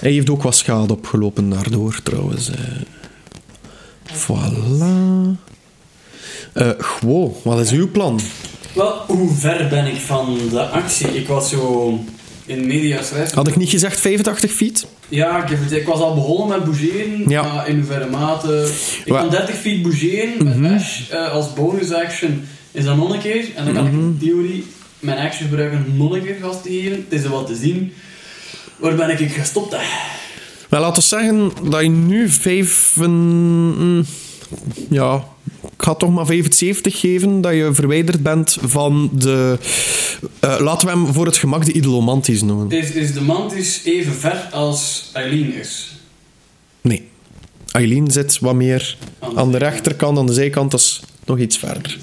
S1: Hij heeft ook wat schade opgelopen daardoor, trouwens. eh. Voilà. Eh Gwo, wat is uw plan?
S3: Wel, hoe ver ben ik van de actie? Ik was zo in media's res.
S7: Ah,
S1: Had ik niet gezegd 85 feet?
S3: Ja, ik, heb het- ik was al begonnen met bougeren,
S1: Ja.
S3: maar in hoeverre mate... Ik
S1: Wa-
S3: kan 30 feet bougeren met Ash eh, als bonus action. Is dat nog een keer? En dan kan ik in theorie mijn action gebruiken om nog een keer gas te geven. Het is wel te zien. Waar ben ik gestopt? Ah, Hè?
S1: Wel, laten we zeggen dat je nu 5... mm, ja, ik ga toch maar 75 geven, dat je verwijderd bent van de... eh, laten we hem voor het gemak de Idolomantis noemen.
S3: Is, is de mantis even ver als Eileen is?
S1: Nee. Eileen zit wat meer
S3: Aan de
S1: aan de rechterkant, aan de zijkant, dat is nog iets verder.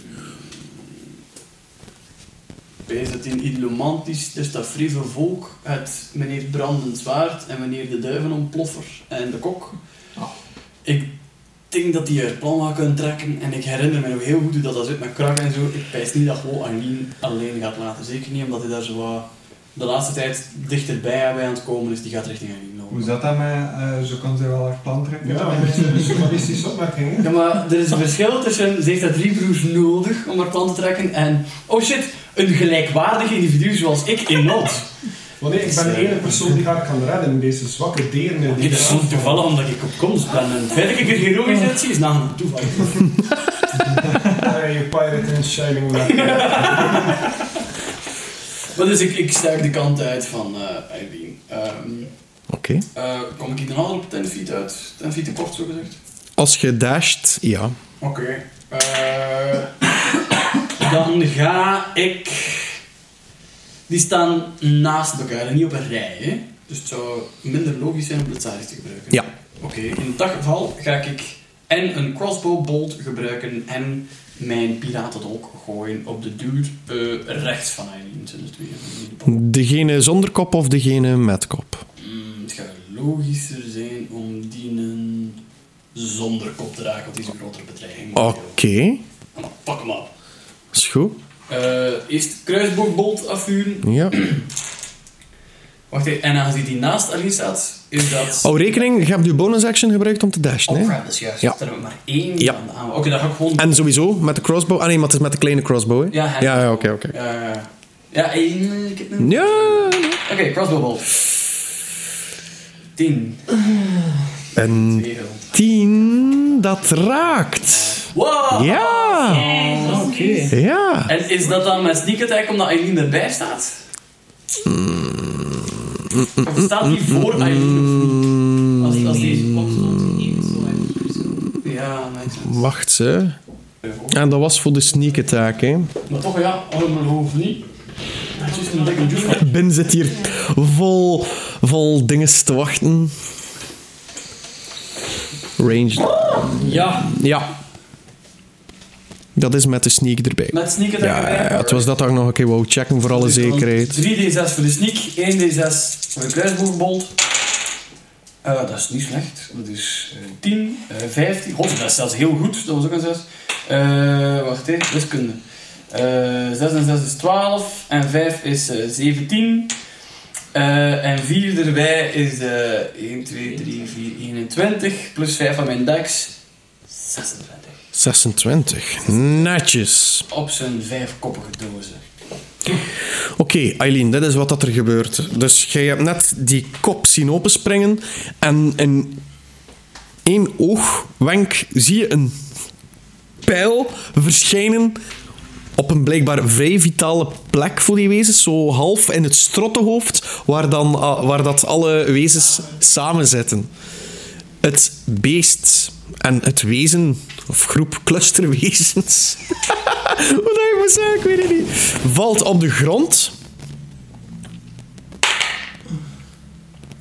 S3: Wees dat in Idlomantisch, dus dat frieve volk, het meneer Brandend Zwaard en meneer de Duivenontploffer en de kok. Ik denk dat die haar plan wel kunnen trekken en ik herinner me nog heel goed hoe dat dat zit met krak en zo. Ik pijs niet dat gewoon Anlien alleen gaat laten. Zeker niet omdat hij daar zo wat de laatste tijd dichterbij aan het komen is, die gaat richting Anlien
S2: Hoe
S3: lopen.
S2: zat dat met, eh, zo kan zij wel haar plan trekken?
S7: Ja, een beetje een journalistische opmerking. hè.
S3: Ja, maar er is een verschil tussen ze heeft haar drie broers nodig om haar plan te trekken en oh shit, een gelijkwaardig individu zoals ik in nood.
S7: Want nee, ik ben de ene persoon die haar kan redden, deze zwakke deren.
S3: Dit is zo'n toevallig omdat ik op komst ben. En het feit dat ik er heroïs uitzie is na een toeval.
S7: Ja, je Eh, pirate in Shining Light.
S3: Maar dus ik, ik stuik de kant uit van eh Eileen. Ehm,
S1: Oké.
S3: eh, kom ik hier dan al op 10 feet uit? 10 feet te kort, zo gezegd.
S1: Als je dasht, ja.
S3: Oké. eh, dan ga ik... Die staan naast elkaar en niet op een rij, hè? Dus het zou minder logisch zijn om blitzaris te gebruiken.
S1: Ja.
S3: Oké, in dat geval ga ik en een crossbow bolt gebruiken en mijn piratendolk gooien op de dude eh, rechts van Eileen. Zijn de twee van die de bolt.
S1: Degene zonder kop of degene met kop?
S3: Hmm, het gaat logischer zijn om die een zonder kop te raken, want die is een grotere bedreiging.
S1: Oké,
S3: Maar Pak hem op.
S1: is goed.
S3: Eh, eerst kruisboogbolt afvuren.
S1: Ja.
S3: Wacht even, en aangezien die naast Eileen staat, is dat...
S1: Hou rekening, je hebt je bonus action gebruikt om te dashen,
S3: Oh,
S1: hè?
S3: crap, dat is juist.
S1: Oh, Ja.
S3: Daar hebben we maar één
S1: Ja.
S3: aan de aan. Oké, dan ga ik gewoon...
S1: En sowieso met de crossbow. Ah nee, maar het is met de kleine crossbow, hè?
S3: Ja, hij-
S1: ja, ja, oké, oké.
S3: Ja, ja, ja. Ja, één... eh, Ik heb een...
S1: Ja.
S3: Oké, crossbow bolt. 10.
S1: Een 10, dat raakt.
S3: Wow!
S1: Ja.
S4: Jezus.
S5: Oké.
S1: Ja.
S3: En is dat dan met sneak attack omdat Eileen erbij staat?
S1: Mm.
S3: Of staat die voor Eileen of niet? Als, als die...
S1: Mm.
S3: Ja, maakt zin.
S1: Wacht, ze. En dat was voor de sneak attack, hè?
S3: Maar toch, ja, allemaal of niet. Het is een dikke juice.
S1: Ben zit hier vol, vol dinges te wachten. Range.
S5: Ja.
S1: Ja. Dat is met de sneak erbij.
S3: Met sneak attack
S1: Ja,
S3: erbij.
S1: ja, het was dat dat ik nog een keer wou checken voor alle
S3: Dus dan
S1: zekerheid.
S3: 3d6 voor de sneak, 1d6 voor de kruisboogbolt. Eh, dat is niet slecht. Dat is eh, 10, eh, 15. God, dat is zelfs heel goed. Dat was ook een 6. Eh, wacht even, wiskunde. Eh 6 en 6 is 12. En 5 is eh, 17. Eh, en 4 erbij is eh 1, 2, 3, 4, 21. Plus 5 van mijn dex. 26.
S1: 26. Netjes.
S3: Op zijn vijfkoppige dozen.
S1: Oké, Eileen, dit is wat dat er gebeurt. Dus jij hebt net die kop zien openspringen en in één oogwenk zie je een pijl verschijnen op een blijkbaar vrij vitale plek voor die wezens, zo half in het strottenhoofd, waar, dan, ah, waar dat alle wezens samen zitten. Het beest en het wezen, of groep clusterwezens, hoe dat je moet zeggen, ik weet het niet, valt op de grond.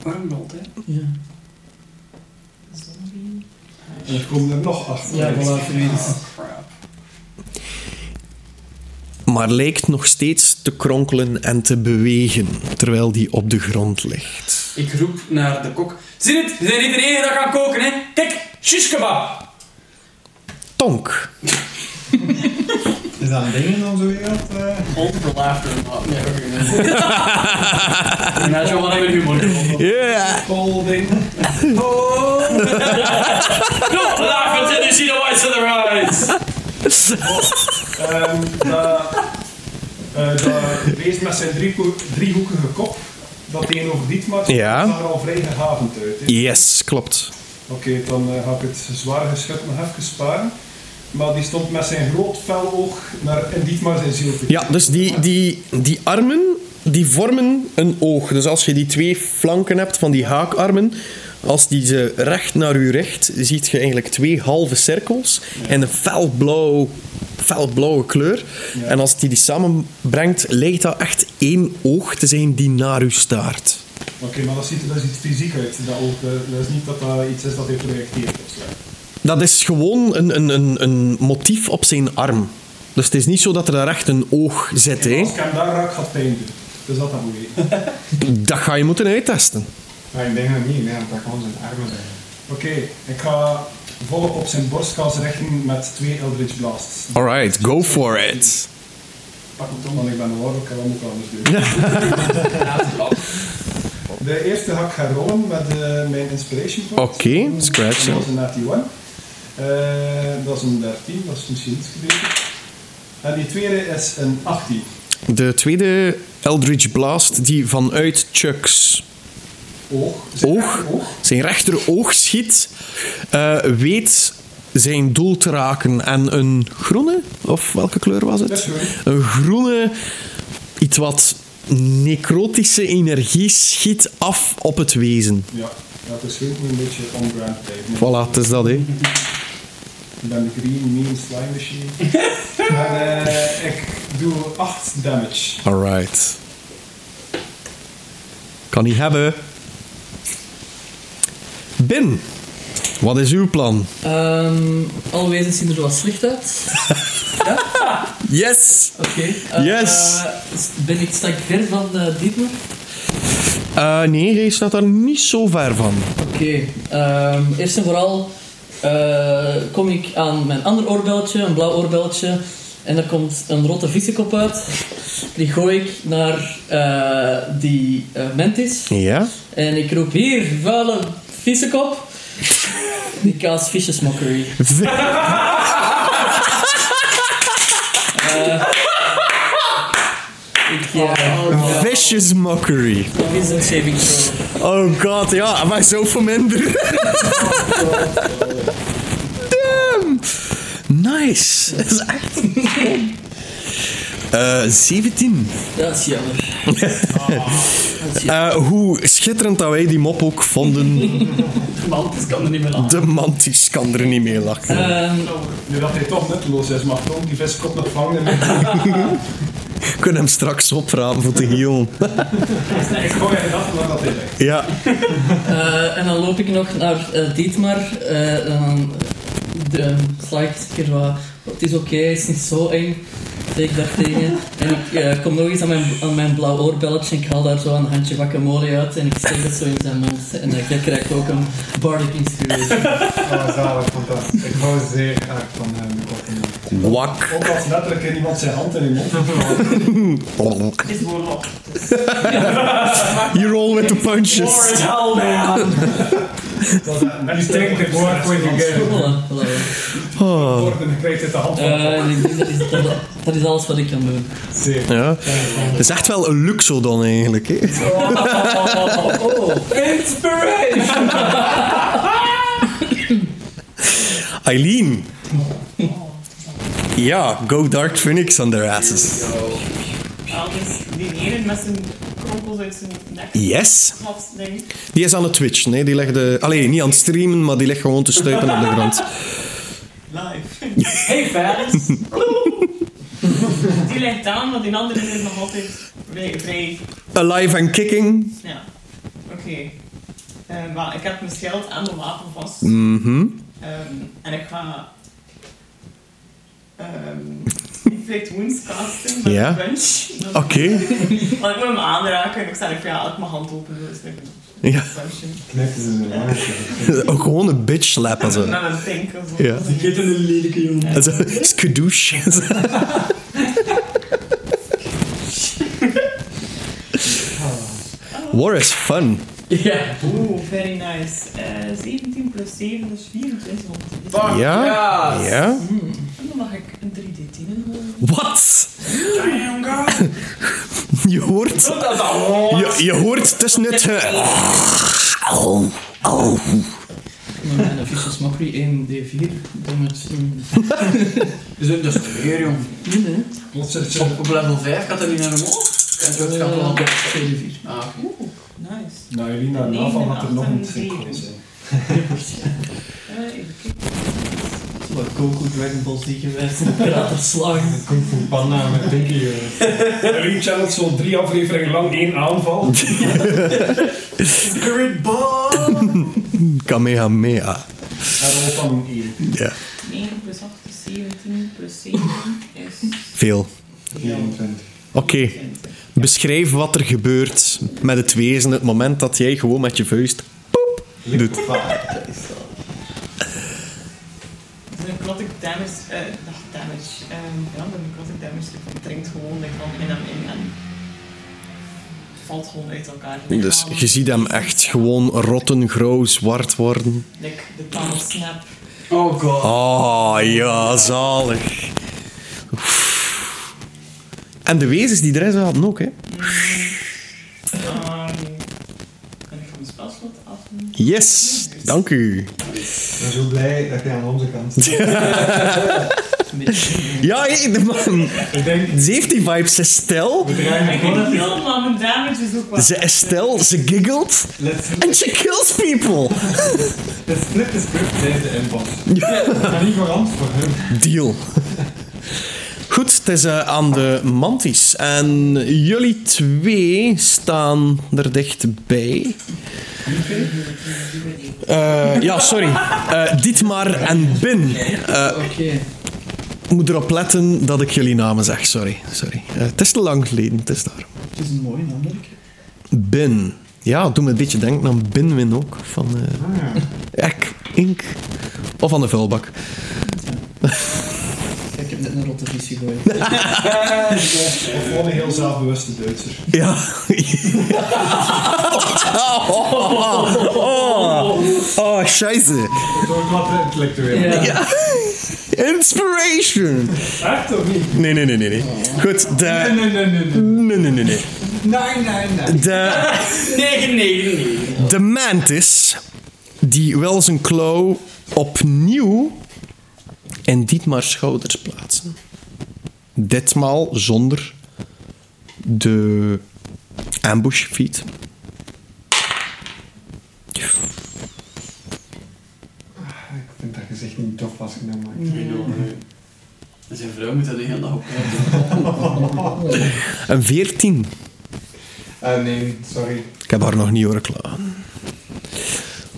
S3: Waarom rolt hè?
S5: Ja.
S2: En er komen er nog achter.
S5: Ja, voilà, verwees.
S3: Crap.
S1: maar lijkt nog steeds te kronkelen en te bewegen terwijl die op de grond ligt.
S3: Ik roep naar de kok. Zie het, we zijn niet de enige dat gaan koken, hè? Kijk, shish kebab.
S1: Tonk.
S2: Is dat een ding in onze wereld? eh?
S3: All the laughter and not never En dat is wel wat ik humor gevonden.
S1: Ja.
S2: Vol ding.
S3: Don't laugh until you see the whites of their eyes.
S7: Ehm dat, eh, dat beest met zijn driehoek- driehoekige kop, dat tegenover Dietmar, zit,
S1: Ja.
S7: zag er al vrij gehavend uit. hè.
S1: Yes, klopt.
S7: Oké, dan eh, ga ik het zware geschut nog even sparen. Maar die stond met zijn groot fel oog naar en Dietmar zijn ziel te
S1: Ja, dus die, die, die armen die vormen een oog. Dus als je die twee flanken hebt van die haakarmen, als die ze recht naar u richt, ziet je eigenlijk twee halve cirkels en een felblauw, felblauwe kleur. En als die die samenbrengt, lijkt dat echt één oog te zijn die naar u staart.
S7: Oké, maar dat ziet er dat is iets fysiek uit. Dat, ook, eh, dat is niet dat dat iets is dat hij projecteert. of zo.
S1: Dat is gewoon een, een, een, een motief op zijn arm. Dus het is niet zo dat er daar echt een oog zit. Hè.
S7: Als ik hem daar raak, gaat het pijn doen. Dus dat dat moet weten.
S1: Dat ga je moeten uittesten.
S2: Maar ik denk dat niet, nee, want dat kan zijn armen zijn.
S7: Oké, ik ga volle op zijn borstkas richten met twee Eldritch Blasts.
S1: Alright, go for it.
S7: Pak het om, want ik ben de warm, ik kan wel ook anders doen. De eerste ga ik gaan rollen met eh, mijn inspiration point.
S1: Oké, scratch,
S7: Dat is een 91. Eh, dat is een 13, dat is misschien iets beter. En die tweede is een 18.
S1: De tweede Eldritch Blast die vanuit Chuck's
S7: Oog.
S1: oog, zijn rechteroog schiet, eh, weet zijn doel te raken. En een groene, of welke kleur was
S7: Dat is
S1: het?
S7: groen.
S1: Een groene, iets wat necrotische energie schiet af op het wezen.
S7: Ja, dat is goed, moet een beetje on-ground blijven.
S1: Voilà, het is dat, hè.
S7: Ik ben de green mean slime machine. en eh, ik doe 8 damage.
S1: Alright. Kan niet hebben. Bin, wat is uw plan?
S5: Ehm alle wezens zien er wat slecht uit.
S1: Yes!
S5: Oké. eh,
S1: Yes.
S5: eh, ben ik, sta ik ver van de Dietmar?
S1: Eh, nee, hij staat daar niet zo ver van.
S5: Oké, ehm, eerst en vooral eh, kom ik aan mijn ander oorbeltje, een blauw oorbeltje. En daar komt een rotte vissenkop uit. Die gooi ik naar eh, die eh, mentis.
S1: Ja?
S5: En ik roep hier, vuile vissenkop. Die kaas vicious mockery. Eh, ik,
S3: Oh,
S5: eh,
S1: Vicious mockery.
S5: dat is een saving throw.
S1: Oh god, ja, maar zoveel minder. Damn! Nice. Dat is echt... Eh 17.
S5: Dat is jammer.
S1: Eh, hoe schitterend dat wij die mop ook vonden.
S3: Man, dat kan er niet meer aan.
S1: De mantis kan er niet mee lachen.
S5: Ehm,
S7: Nu dat hij toch nutteloos is, mag ik ook die viskop nog vangen. en
S1: We kunnen hem straks oprapen voor de heel.
S7: Ik gooi hem af nadat hij weg.
S1: Ja.
S5: Eh, en dan loop ik nog naar eh, Dietmar. eh, en dan de, sla ik een keer wat. Het is oké, het is niet zo eng. Zeg ik daar tegen. En ik eh, kom nog eens aan mijn, aan mijn blauw oorbelletje. Ik haal daar zo een handje guacamole uit. En ik steek dat zo in zijn mond. En eh, dan krijg ik ook een bardic inspiration.
S2: Oh, zalig, fantastisch. Ik hou zeer graag van eh, hem. de koppen.
S1: Wak.
S7: Ook als letterlijk in iemand zijn hand in die mond heeft gehouden.
S4: Het is warlock.
S1: You roll with the punches.
S3: Hell man.
S7: You take the guac when you get it.
S5: Voilà, voilà.
S1: Oh.
S7: Worden en krijgt het de hand van.
S5: Eh, ik denk dat, is, dat, dat is alles wat ik kan doen.
S7: Zeer.
S1: Ja. Dat is echt wel een luxodon eigenlijk. Hè?
S7: Oh.
S5: Inspiration!
S1: Eileen. Ja, go Dark Phoenix on their asses.
S4: Elvis dineren met zijn kronkels uit zijn nek.
S1: Yes.
S4: Snaps, denk ik.
S1: Die is aan het twitchen. Hè? Die legde, allee, niet aan het streamen, maar die legt gewoon te stuiten op de grond.
S4: Live.
S10: Hey, fans.
S4: Die ligt aan, want die andere is nog altijd vrij. vrij
S1: Alive and kicking.
S4: ja. Oké. Eh, maar ik heb mijn schild en mijn wapen vast.
S1: Mhm.
S4: Ehm, en ik ga. Um, inflict wounds casten met
S1: Ja.
S4: een punch.
S1: Oké.
S4: Want ik moet hem aanraken en ik sta even, ja, ik mijn hand open wil. Dus ik
S1: Ja.
S2: Knippen ze zo lang.
S1: Ook gewoon een bitch slap.
S4: Met
S1: Also.
S4: een pink of zo.
S1: eh. Ja.
S4: Die
S10: Dit is een lelijke jongen.
S1: Also, skadoosh. War is fun.
S10: Ja.
S4: Oeh, very nice. Eh 17 plus 7, dat is 24. Want het is-
S1: Ja?
S10: Ja.
S1: Ja?
S4: En dan mag ik een 3d10 in.
S1: Wat? Je hoort... Je, je hoort dus eh, tussen het... ge- Au, au.
S5: Met mijn official smokkery 1d4 damage.
S3: Dus ook dat is weer, jong.
S5: Nee, nee.
S7: Plots zit je
S3: Op, op level 5 gaat dat niet naar omhoog. En zo het gaat wel op.
S5: 2d4.
S3: Ah,
S4: Oeh, nice.
S7: Nou, jullie naar
S4: Nee,
S7: naval
S4: en
S7: had er nog een
S4: achter een
S7: sequel
S4: zeven.
S7: zijn.
S4: Eh even kijken.
S5: Zo wat Goku Dragon Ball Z geweest. Piraten slagen.
S2: Kung Fu Panda met Pinky. eh.
S7: Jullie channelt zo'n drie afleveringen lang één aanval.
S3: Spirit Bomb!
S1: Kamehameha.
S7: En rolt dan een één.
S1: Ja,
S4: 9 plus 8 is 17 plus 7 is
S1: veel.
S2: 24.
S1: Oké, beschrijf wat er gebeurt met het wezen het moment dat jij gewoon met je vuist poep doet.
S4: Mijn necrotic damage, eh, dag damage, ehm, ja, mijn necrotic damage die dringt gewoon like, van in hem in en valt gewoon uit elkaar.
S1: Dus je ziet hem echt gewoon rotten, grauw, zwart worden.
S4: Like, de tunnel snap.
S3: Oh god.
S1: Ah, ja, zalig. Oef. En de wezens die erin zaten ook, hè?
S4: Ehm, kan ik van mijn spelslot af?
S1: Yes, dank u.
S2: Ik ben zo blij dat je aan onze kant zit.
S1: Ja, hé, de man.
S7: Ik denk,
S1: Ze heeft die vibes. Ze is stil,
S2: We
S4: Ja,
S2: draaien
S4: ik weet
S2: gewoon
S4: niet veel, maar mijn damage is ook wel.
S1: ze is stil, ze giggelt.
S2: Let's-
S1: En ze kills people.
S2: let's flip the script tijdens de inbox. Ga niet verant voor hem.
S1: Deal. Goed, het is eh, aan de mantis. En jullie twee staan er dichtbij. Eh ja, sorry. Eh Dietmar en Bin. Eh,
S5: Oké.
S1: ik moet erop letten dat ik jullie namen zeg. Sorry. sorry. Eh, het is te lang geleden, het is daar.
S5: Het is een mooie naam, denk ik.
S1: Bin. Ja, doe me een beetje denken aan Binwin ook. Van eh
S2: Ah, ja.
S1: Ek, Ink. Of aan de vuilbak.
S5: Kijk, ik heb net een rotte visie gegooid.
S7: of gewoon een heel zelfbewuste Duitser.
S1: Ja. oh, oh, oh, oh, scheisse.
S2: Zo'n klappe eh, intellectueel.
S1: Ja. Inspiration.
S7: Echt of niet?
S1: Nee, nee, nee, nee. nee. Goed,
S2: Nee,
S1: de...
S2: nee, nee, nee. nee.
S1: Nee, nee, nee, nee.
S2: Nee, nee, nee.
S1: De,
S10: Nee, nee, nee.
S1: de mantis, die wel zijn klauw opnieuw in Dietmar's schouders plaatsen. Ditmaal zonder de ambush feat.
S2: Ik vind dat gezicht niet tof als je dat maakt. Nee.
S3: En zijn vrouw moet er de hele dag op kijken.
S1: Een 14.
S2: Eh, nee, sorry.
S1: Ik heb haar nog niet horen klaar.
S3: Dat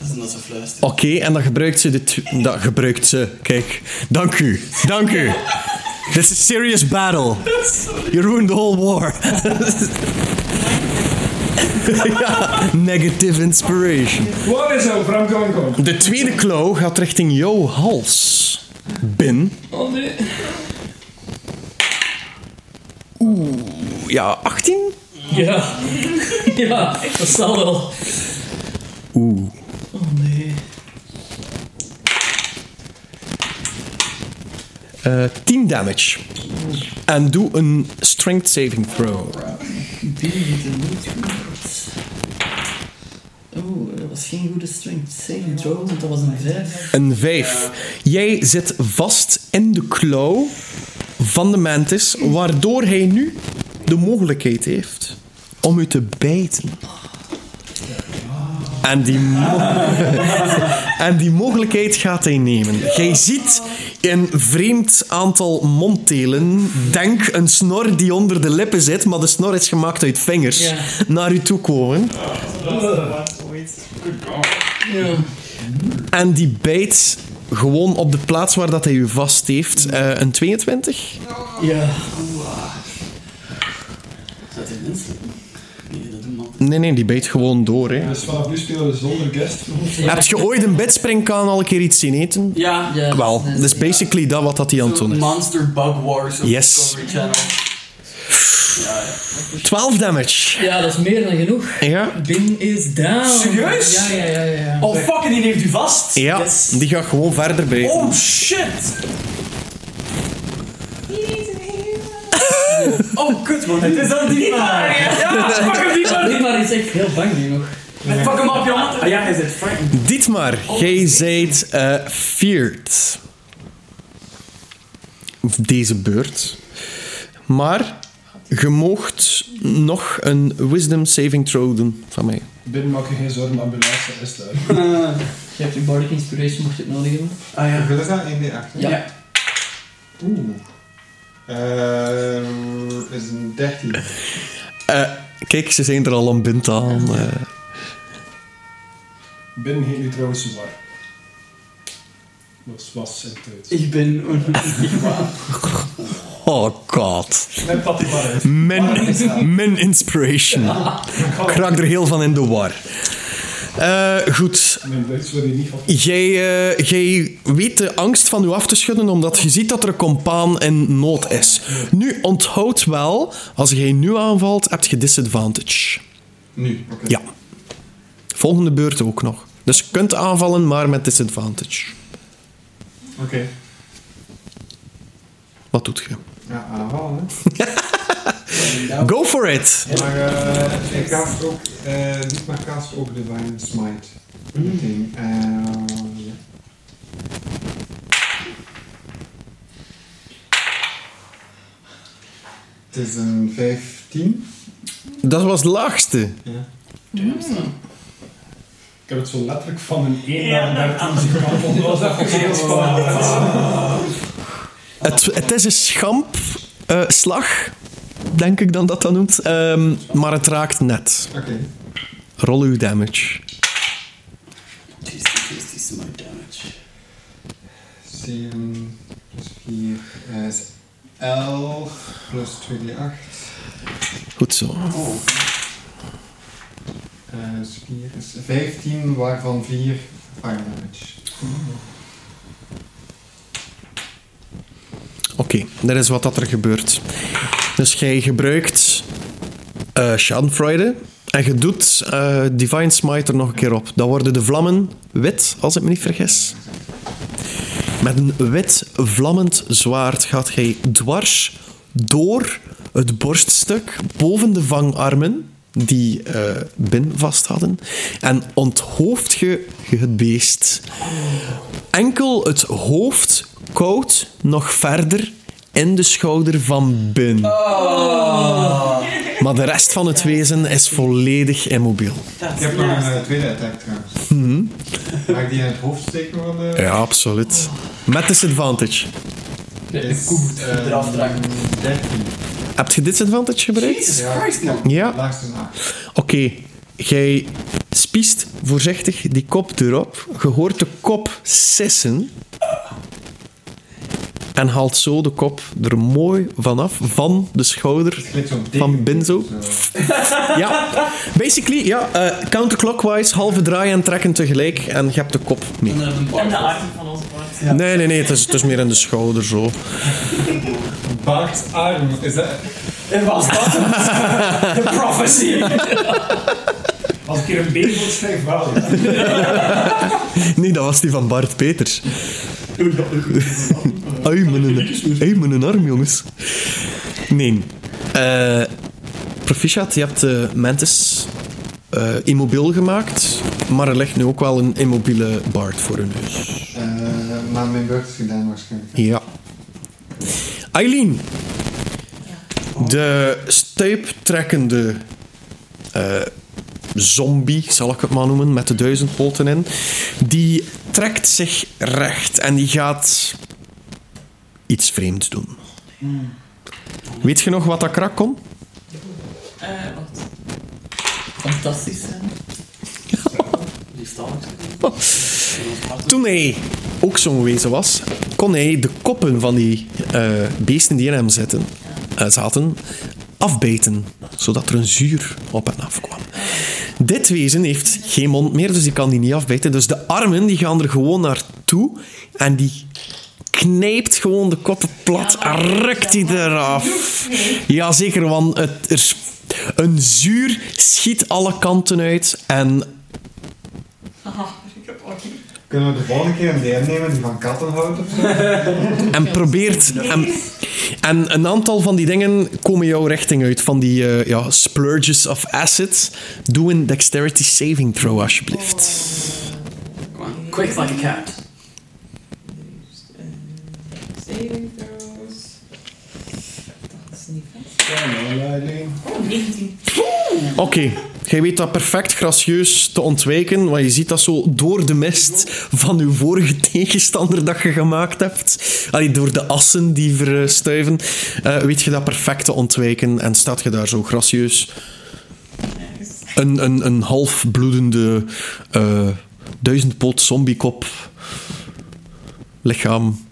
S3: is omdat ze fluistert.
S1: Oké, en dan gebruikt ze de... tw- Dat gebruikt ze. Kijk. Dank u. Dank u. This is serious battle. You ruined the whole war. ja, negative inspiration.
S7: Wat is zo, Frank Gongo?
S1: De tweede klauw gaat richting jouw hals. Bin.
S5: Oh nee.
S1: Ja, 18?
S5: Ja. Ja, dat zal wel.
S1: Oeh.
S5: Oh nee.
S1: eh 10 damage. En doe een strength saving throw.
S5: Binnen zit er niet goed. Oeh, dat was geen goede strength saving throw, want dat was een 5.
S1: Een 5. Jij zit vast in de klauw van de mantis, waardoor hij nu de mogelijkheid heeft om u te bijten. En die, mo- en die mogelijkheid gaat hij nemen. Jij ziet een vreemd aantal mondtelen, denk een snor die onder de lippen zit, maar de snor is gemaakt uit vingers,
S5: Ja.
S1: naar u toe komen.
S4: Dat ooit.
S5: Ja.
S1: En die bijt gewoon op de plaats waar dat hij u vast heeft. Eh, een 22?
S5: Ja.
S3: Is dat in mensen? Nee, dat is een man.
S1: Nee, nee, die bijt gewoon door. Hè.
S7: Dus vanaf nu spelen we zonder guest.
S1: Heb je ooit een bedspringkaan al een keer iets zien eten?
S3: Ja,
S5: ja.
S1: Wel, dat is basically dat wat dat hij aan het doen is.
S3: Monster Bug Wars op
S1: Yes.
S3: Discovery Channel. Ja, ja.
S1: 12 damage.
S5: Ja, dat is meer dan genoeg.
S1: Ja,
S5: Bin is down.
S3: Serieus?
S5: Ja, ja, ja, ja. ja.
S3: Oh fucking, die heeft u vast.
S1: ja
S5: Yes.
S1: die gaat gewoon verder bijten.
S3: Oh shit. Oh kut man, het is dat die maar. Ja, pak hem die maar.
S5: Nee, maar die is echt heel bang nu nog.
S3: Pak hem op, jongen. Ah ja, hij zit frightened.
S1: Dietmar, jij zijt eh feared. Deze beurt. Maar je moogt nog een wisdom saving throw doen van mij.
S7: Binnen maak je geen zorgen, ambulance is daar.
S5: Je hebt je bardic inspiration, mocht je het nodig hebben.
S3: Ah ja.
S2: Hoeveel is dat? 1d8?
S5: Ja.
S2: Oeh. Eh, is een 13.
S1: Eh, kijk, ze zijn er al aan bint aan. eh.
S7: Binnen heet nu trouwens Cesar. Dat was in tijd.
S3: Ik ben...
S1: oh god.
S7: Knip dat die maar uit.
S1: Min, min inspiration. Ik raak er heel van in de war. Eh, goed.
S7: Mijn Duits wil je niet van.
S1: Jij, eh, jij weet de angst van u af te schudden omdat je ziet dat er een compaan in nood is. Nu onthoud wel, als jij nu aanvalt, heb je disadvantage.
S2: Nu, oké.
S1: Ja. Volgende beurt ook nog. Dus je kunt aanvallen, maar met disadvantage.
S2: Oké.
S1: Wat doet je?
S2: Ja, aanhalen. hè.
S1: Go for it!
S2: Maar eh ik cast ook, eh Dietmar cast ook Divine Smite. Meteen. Eh, ja. Het is een 15.
S1: Dat was het laagste.
S2: Ja.
S7: Ik heb het zo letterlijk van een 1 naar een 13 gekomen. Dat was echt heel spannend.
S1: Het, het is een schamp eh, slag, denk ik dan dat dat noemt. Ehm, maar het raakt net.
S2: Oké.
S1: Roll uw damage.
S3: Jesus, this is my damage.
S2: 7 plus 4 eh, is 11 plus 2d8
S1: Goed zo.
S3: Oh.
S2: eh, is 4 is 15, waarvan 4 fire damage.
S1: Oké, dat is wat dat er gebeurt. Dus jij gebruikt eh Schadenfreude en je doet eh, Divine Smite er nog een keer op. Dan worden de vlammen wit, als ik me niet vergis. Met een wit vlammend zwaard gaat jij dwars door het borststuk boven de vangarmen die eh Bin vast hadden en onthoofd je het beest enkel het hoofd koud nog verder in de schouder van Bin. Maar de rest van het wezen is volledig immobiel.
S2: Ik heb nog een eh, tweede attack trouwens. Mag ik die in het hoofd steken eh? van de...
S1: Ja, absoluut. Met disadvantage.
S2: Is, eh,
S3: eraf trekken.
S2: 13.
S1: Heb je disadvantage gebruikt?
S3: Jesus Christ, man.
S1: Ja.
S2: Laagste nacht.
S1: Oké, jij spiest voorzichtig die kop erop. Je hoort de kop sissen. En haalt zo de kop er mooi vanaf, van de schouder
S2: Het klinkt zo'n dikke
S1: Van Benzo?
S2: boek, zo.
S1: Ja, basically, ja, eh, counterclockwise, halve draaien en trekken tegelijk. En je hebt de kop mee.
S3: En eh, dan een
S4: En de
S3: bar.
S4: arm van onze paard.
S1: Nee, nee, nee, het is, het is meer in de schouder zo.
S2: Baard arm, is dat...
S3: En was dat het? The prophecy.
S7: Als ik hier een beetje voor schrijf, wel. Ja.
S1: Nee, dat was die van Bart Peters. Ui, mijn, ui, mijn arm, jongens. Nee. Eh, proficiat, je hebt de Mantis eh, immobiel gemaakt, maar er ligt nu ook wel een immobiele Bard voor hun neus.
S2: Eh, maar mijn beurt is gedaan waarschijnlijk.
S1: Ja. Eileen. De stuiptrekkende eh, zombie, zal ik het maar noemen, met de duizend poten in. Die trekt zich recht en die gaat iets vreemds doen. Weet je nog wat dat krak kon?
S4: Eh, wacht.
S5: Fantastisch zijn.
S3: Liefdalig.
S1: Toen hij ook zo'n wezen was, kon hij de koppen van die eh, beesten die in hem zitten, eh, zaten afbeten, zodat er een zuur op hen afkwam. Dit wezen heeft geen mond meer, dus die kan die niet afbeten. Dus de armen die gaan er gewoon naartoe en die knijpt gewoon de koppen plat en rukt die eraf. Jazeker, want het, er, s- een zuur schiet alle kanten uit en
S4: Haha, ik heb ook niet.
S2: Kunnen we de volgende keer een DM nemen die van katten houdt of zo?
S1: En probeert. En, en een aantal van die dingen komen jouw richting uit. Van die eh, ja, splurges of assets. Doe een dexterity saving throw, alsjeblieft.
S3: Kom aan. Quick like a cat.
S4: Eh, Saving throws. Dat is niet vast. Oh, 19.
S1: Oké, jij weet dat perfect gracieus te ontwijken. Want je ziet dat zo door de mist van uw vorige tegenstander dat je gemaakt hebt. Allee, door de assen die verstuiven. eh, weet je dat perfect te ontwijken. En staat je daar zo gracieus
S4: Nice.
S1: een, een, een half bloedende eh, duizendpoot zombiekop lichaam.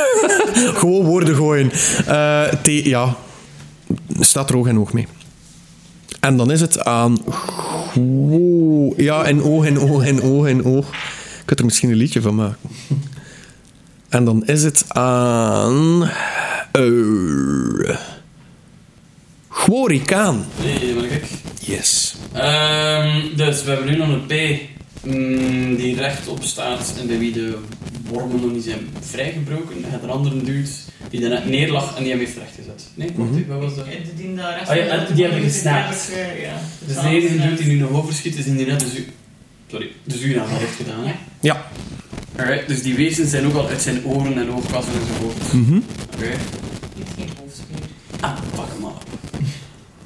S1: Gewoon woorden gooien. Eh, te- ja, staat er oog en oog mee. En dan is het aan. Wow. Ja, en oog en oog en oog en oog. Ik kunt er misschien een liedje van maken. En dan is het aan. eh Gworikaan.
S3: Nee, maar kijk.
S1: Yes.
S3: Ehm, dus we hebben nu nog een P mm, die rechtop staat en bij wie de wormen nog niet zijn vrijgebroken. Je hebt een andere dude die daarnet neerlag en die hem heeft rechtgezet. Nee, wacht
S1: Mhm.
S3: even, wat was dat?
S4: Eh, De dien daar rechts.
S3: Oh ja, en die hebben
S4: Ja,
S3: gesnapt.
S4: ik, eh, Ja, eh,
S3: Dus de enige dude die nu nog overschiet is die net de zuur... Sorry, de zuurnaam al heeft gedaan. Hè?
S1: Ja.
S3: Alright, dus die wezens zijn ook al uit zijn oren en oogkassen en zijn hoofd.
S1: Mhm.
S3: Oké.
S4: Ik heb geen hoofd meer.
S3: Ah, pak hem al.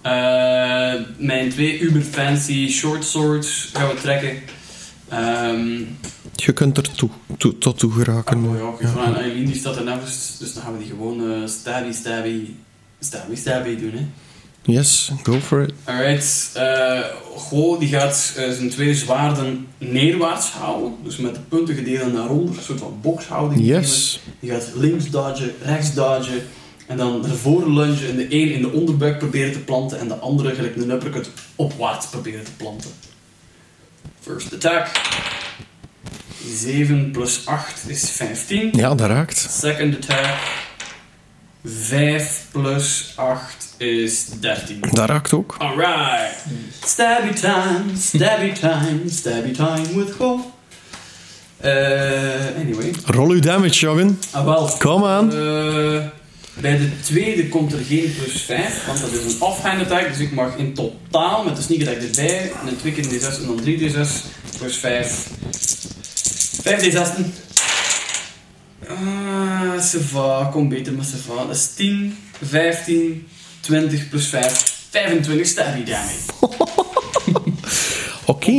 S3: Eh, mijn twee uber fancy short swords gaan we trekken. Ehm
S1: Je kunt er toe, toe- tot toe geraken.
S3: ah, mooi ook. Ja. Van Eileen die staat ernaast, dus dan gaan we die gewoon eh stabby, stabby, stabby, stabby doen. Hè.
S1: Yes, go for it.
S3: Alright, eh Go die gaat eh, zijn twee zwaarden neerwaarts houden, dus met de punten gedeeld daaronder, een soort van bokshouding.
S1: Yes.
S3: Die gaat links dodgen, rechts dodgen. En dan ervoor lunge en de een in de onderbuik proberen te planten en de andere gelijk een uppercut opwaarts proberen te planten. First attack. 7 plus 8 is 15.
S1: Ja, dat raakt.
S3: Second attack. 5 plus 8 is 13.
S1: Dat raakt ook.
S3: Alright. Stabby time, stabby time, stabby time with go. Eh anyway.
S1: Roll uw damage, jongen.
S3: Ah, wel.
S1: Kom aan.
S3: Eh, bij de tweede komt er geen plus 5, want dat is een offhand attack. Dus ik mag in totaal met de sneak attack erbij. En dan 2 keer een D6 en dan 3 D6 plus 5. 5 D6. Ah, Seva, kom beter met Seva. Dat is 10, 15, 20 plus 5. 25 stabby damage.
S1: Oké.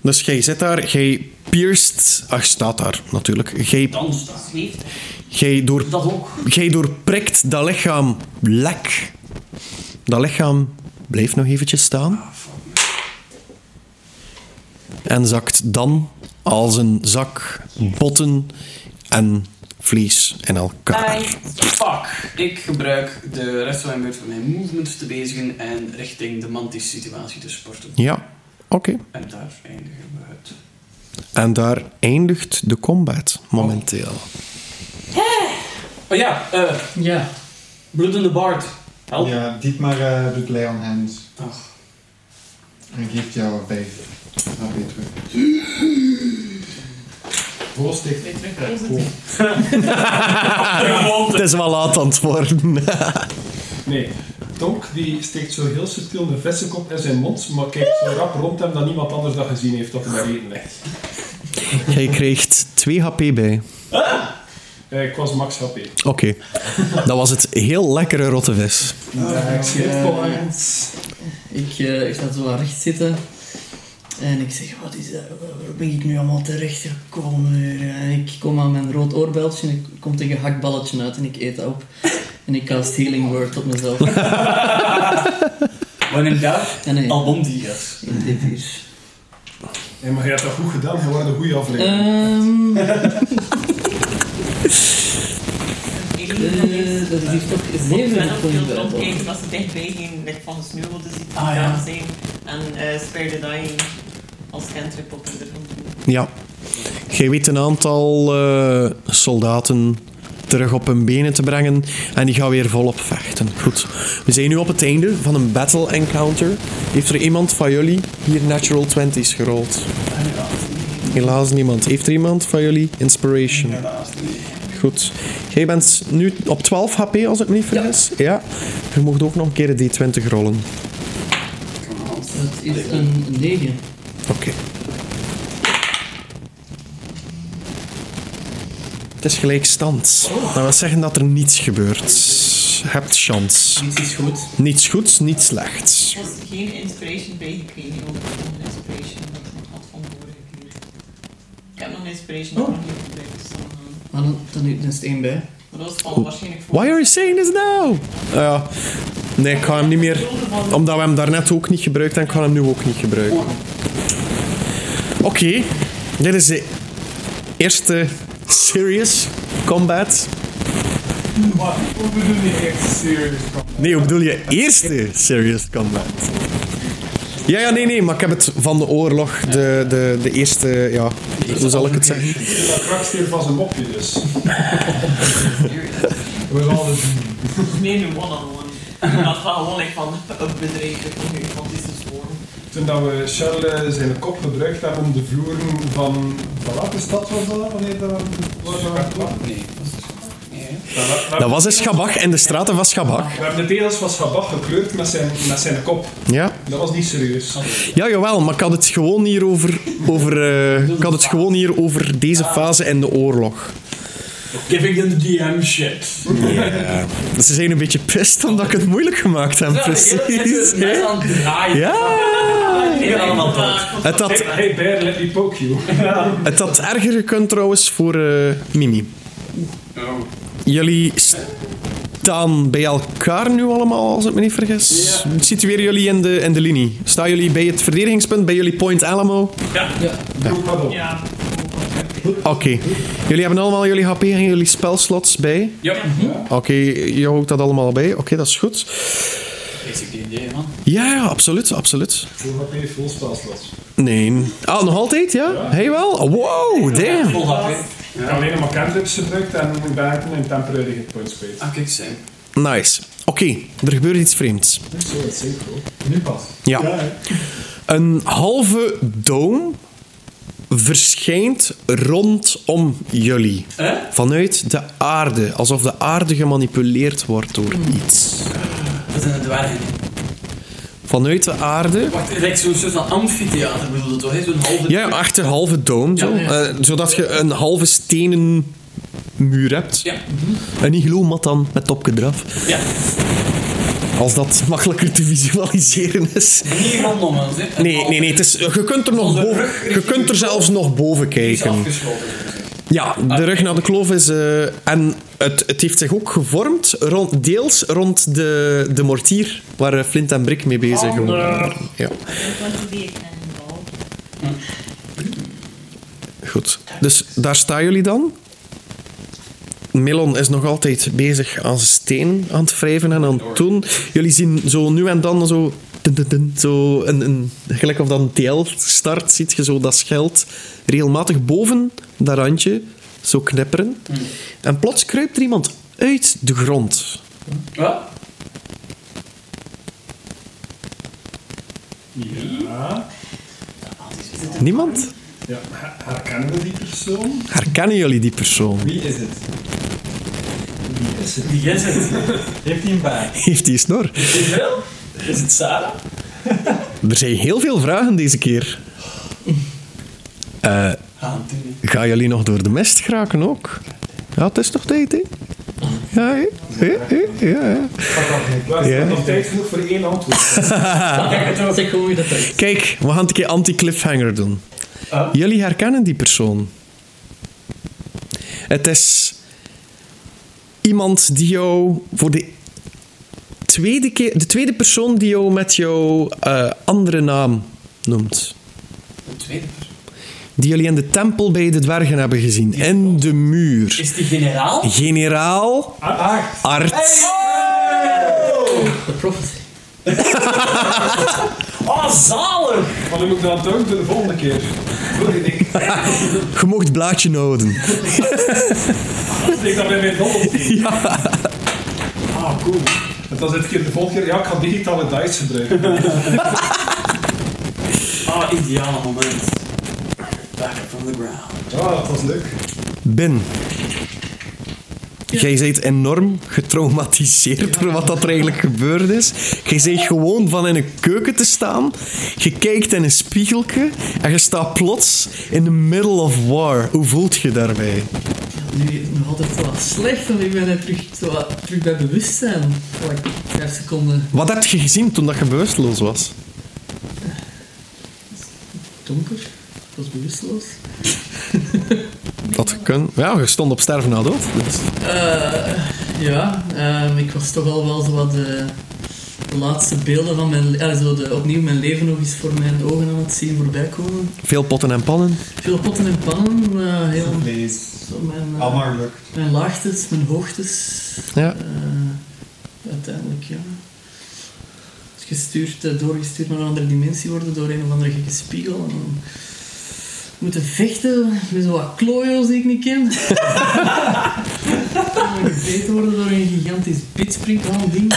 S1: Dus jij zit daar, jij pierced... Ach, staat daar, natuurlijk. Jij,
S3: Dan staat.
S4: Zweeft.
S1: jij, door,
S3: Dat ook.
S1: jij doorprikt dat lichaam lek. Dat lichaam blijft nog eventjes staan. En zakt dan als een zak botten en vlees in elkaar.
S3: Ai, Fuck. Ik gebruik de rest van mijn beurt voor mijn movement te bezigen en richting de mantis situatie te sporten.
S1: Ja, oké.
S3: En daar eindigen we het.
S1: En daar eindigt de combat momenteel.
S3: Oh ja, eh,
S5: Ja.
S3: bloedende Bart. Help.
S2: Ja, Dietmar eh, doet lay on hands.
S3: Oh. Ach.
S2: En geeft jou een vijf. Dan weer terug. Rolstick.
S4: Weet terug, positief.
S1: Het is wel laat aan het worden.
S7: Nee. Tonk die steekt zo heel subtiel de vessenkop in zijn mond, maar kijkt zo rap rond hem dat niemand anders dat gezien heeft dat hij daar eten ligt.
S1: Jij krijgt 2 HP bij.
S7: Eh, ik was max HP.
S1: Oké. Dat was het heel lekkere rotte vis.
S7: Ja, Eh, ik schiet
S5: Ik, eh, ik ga zo aan recht zitten. En ik zeg, wat is dat? Waar waar ben ik nu allemaal terecht gekomen? hier? En ik kom aan mijn rood oorbeltje en ik kom tegen een hakballetje uit en ik eet dat op. En ik cast Healing Word op mezelf.
S3: Wanneer daar
S5: En nee,
S3: album die is.
S5: in dit hier.
S7: Hey, maar jij hebt dat goed gedaan, je wordt een goede aflevering.
S5: Ehm, eh,
S3: Eh,
S4: Eén
S5: dat is hier toch
S4: Ik ben
S5: 7
S4: ook heel
S5: punten uit.
S4: rond
S5: hoor.
S4: kijken als ze dichtbij geen like, van de sneeuwwolden ziet die
S3: Ah, ja.
S4: gedaan zijn. En eh Spare the Dying als cantrip op de grond.
S1: Ja. Jij weet een aantal eh, soldaten terug op hun benen te brengen. En die gaan weer volop vechten. Goed. We zijn nu op het einde van een battle encounter. Heeft er iemand van jullie hier natural 20's gerold? Helaas niemand. Heeft er iemand van jullie inspiration? Goed. Jij bent nu op 12 HP, als ik me niet vergis. Ja. Je mocht ook nog een keer een D20 rollen.
S5: Dat is een 9.
S1: Oké. Het is gelijkstand. Dat wil zeggen dat er niets gebeurt. Je hebt chance.
S5: Dit is goed.
S1: Niets goeds, niets slechts.
S4: Er was geen inspiration bij gekregen, ook een inspiration dat ik had van vorige keer. Ik heb nog een inspiration dat
S5: Oh.
S4: nog niet gebruikt is. dan, eh,
S5: Maar dan, dan is het 1 bij.
S4: Maar dat was van waarschijnlijk voor.
S1: Why are you saying this now? Ah, Ja. nee, ik ga hem niet meer... Omdat we hem daarnet ook niet gebruikt en ik ga hem nu ook niet gebruiken. Oké. Dit is de eerste serious combat.
S2: Wat? Hoe bedoel je echt serieus?
S1: Nee, hoe bedoel je eerste Serious Combat? Ja, ja, nee, nee, maar ik heb het van de oorlog, de, de, de eerste, ja, hoe zal ik het zeggen?
S7: Dat kraksteer van zijn mopje dus.
S2: We gaan het
S4: Nee, nu one-on-one. En Dat gaat gewoon like, van een bedrijf, ik want het is dus gewoon.
S7: Toen dat we Charles eh, zijn kop gebruikt hebben om de vloeren van... Van welke stad was dat? Wanneer dat was
S3: Nee, dat is Nee.
S1: Dat was in Schabach, in de straten van Schabach.
S7: We hebben de tegels van Schabach gekleurd met zijn, met zijn kop.
S1: Ja,
S7: Dat was niet serieus.
S1: ja jawel, maar ik had het gewoon hier over, over, eh, ik had het gewoon hier over deze fase in de oorlog.
S3: Giving them the DM shit.
S1: Dus ze zijn een beetje pissed omdat ik het moeilijk gemaakt heb, precies. hè?
S3: aan het draaien.
S1: Ja,
S3: Ik ben allemaal dood.
S1: het had,
S7: Hey, hey bear, let me poke you.
S1: het had erger gekund trouwens voor eh, Mimi.
S3: Oh.
S1: Jullie staan bij elkaar nu allemaal, als ik me niet vergis. Situeren jullie in de, in de linie? Staan jullie bij het verdedigingspunt, bij jullie Point Alamo?
S7: Doe maar op.
S4: Ja,
S1: Oké. Jullie hebben allemaal jullie HP en jullie spelslots bij?
S3: Ja.
S1: Oké, je houdt dat allemaal bij. Oké, dat is goed.
S3: Basic D&D, man.
S1: Ja, ja, absoluut, absoluut.
S7: Doe maar op full spelslot.
S1: Nee. Ah, nog altijd, ja? Hey wel? Wow, damn.
S3: Vol hap, hè.
S7: Ik heb alleen nog maar cantrips gebruikt en ben ik een temporary hit points kwijt.
S3: Ah, kijk, zijn.
S1: Nice. Oké, er gebeurt iets vreemds.
S7: Zo, dat is simpel.
S2: nu pas.
S1: Ja. Een halve doom verschijnt rondom jullie. Vanuit de aarde. Alsof de aarde gemanipuleerd wordt door iets.
S3: Dat zijn de dwergen.
S1: Vanuit de aarde.
S3: Wacht, het lijkt zo'n soort van amfitheater bedoel je toch? hè? Zo'n halve...
S1: Ja, ah. echt een halve doom. Zo.
S3: Ja, ja.
S1: Eh, zodat je een halve stenen muur hebt.
S3: Ja.
S1: En niet gloemat dan met topje eraf.
S3: Ja.
S1: Als dat makkelijker te visualiseren is.
S3: Niet rondom ons, hè.
S1: Nee, nee, nee. Het is, je kunt er, nog
S3: Onze
S1: boven,
S3: rug
S1: je
S3: richting
S1: kunt er
S3: de
S1: zelfs nog boven
S3: Is
S1: kijken.
S3: afgesloten.
S1: Ja, de rug naar de kloof is... eh, en het, het heeft zich ook gevormd, rond, deels rond de, de mortier waar eh, Flint en Brick mee bezig waren. Ja,
S4: ik want to be a cannonball.
S1: goed. Dus daar staan jullie dan. Melon is nog altijd bezig aan zijn steen aan het wrijven en aan het doen. Jullie zien zo nu en dan zo... dun, dun, dun, zo een, een, gelijk of dat een TL start, ziet je zo dat scheld regelmatig boven dat randje zo knipperen. En plots kruipt er iemand uit de grond.
S3: Wat?
S7: Ja.
S1: Niemand?
S7: ja. her- Herkennen we die persoon?
S1: Herkennen jullie die persoon?
S2: Wie is het?
S7: Wie is het?
S3: Wie is het?
S2: Heeft hij een baard?
S1: Heeft die snor?
S3: Is het Sarah?
S1: Er zijn heel veel vragen deze keer. Eh,
S3: Gaan doen.
S1: gaan jullie nog door de mist geraken ook? Ja, het is nog tijd, hè? Ja, hè? Ja, hè? ja, hè?
S7: We hebben
S1: Ja.
S7: nog tijd genoeg voor één antwoord.
S5: Ah, zeg gewoon wie dat is.
S1: Kijk, we gaan het een keer anti-cliffhanger doen. Jullie herkennen die persoon. Het is iemand die jou voor de tweede keer, de tweede persoon die jou met jouw eh, andere naam noemt.
S3: Een tweede persoon.
S1: Die jullie in de tempel bij de dwergen hebben gezien. In de muur.
S3: Is die generaal?
S1: Generaal
S7: Acht.
S1: Art.
S5: De prophet.
S3: Oh, zalig!
S7: Wat moet ik dan doen voor de volgende keer? Goed idee.
S1: Je mocht blaadje noden.
S7: Ik dat bij mijn dobbel. Ja. Ah, cool. En dan zit ik hier de volgende keer. Ja, ik ga digitale dice gebruiken.
S3: Ah, ideale moment. Back up from the ground.
S7: Ja, dat was leuk.
S1: Ben. Jij bent enorm getraumatiseerd door wat dat er eigenlijk gebeurd is. Jij bent gewoon van in een keuken te staan. Je kijkt in een spiegeltje en je staat plots in the middle of war. Hoe voelt je daarbij?
S5: Nu is het nog altijd zo wat slecht, want ik ben er terug, zo wat terug bij bewustzijn. Like, vijf seconden
S1: Wat heb je gezien toen dat je bewusteloos was?
S5: donker. Ik was bewusteloos.
S1: Dat je kun... Ja, je stond op sterven na dood. Dus.
S5: Eh, ja, ehm, ik was toch al wel zo wat de, de laatste beelden van mijn... Ja, zo de, opnieuw mijn leven nog eens voor mijn ogen aan het zien voorbij komen.
S1: Veel potten en pannen.
S5: Veel potten en pannen. eh, heel,
S2: Lees.
S5: zo mijn, eh,
S2: Allemaal lukt.
S5: mijn laagtes, mijn hoogtes.
S1: Ja.
S5: Eh, uiteindelijk, ja. Dus Gestuurd, eh, doorgestuurd naar een andere dimensie worden door een of andere gekke spiegel. En dan moeten vechten met zo wat klojo's die ik niet ken. en dan gebeten worden door een gigantisch bitspringhaan ding.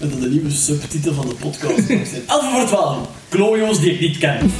S3: En dat de nieuwe subtitel van de podcast mag zijn. 11 voor 12. Klojo's die ik niet ken.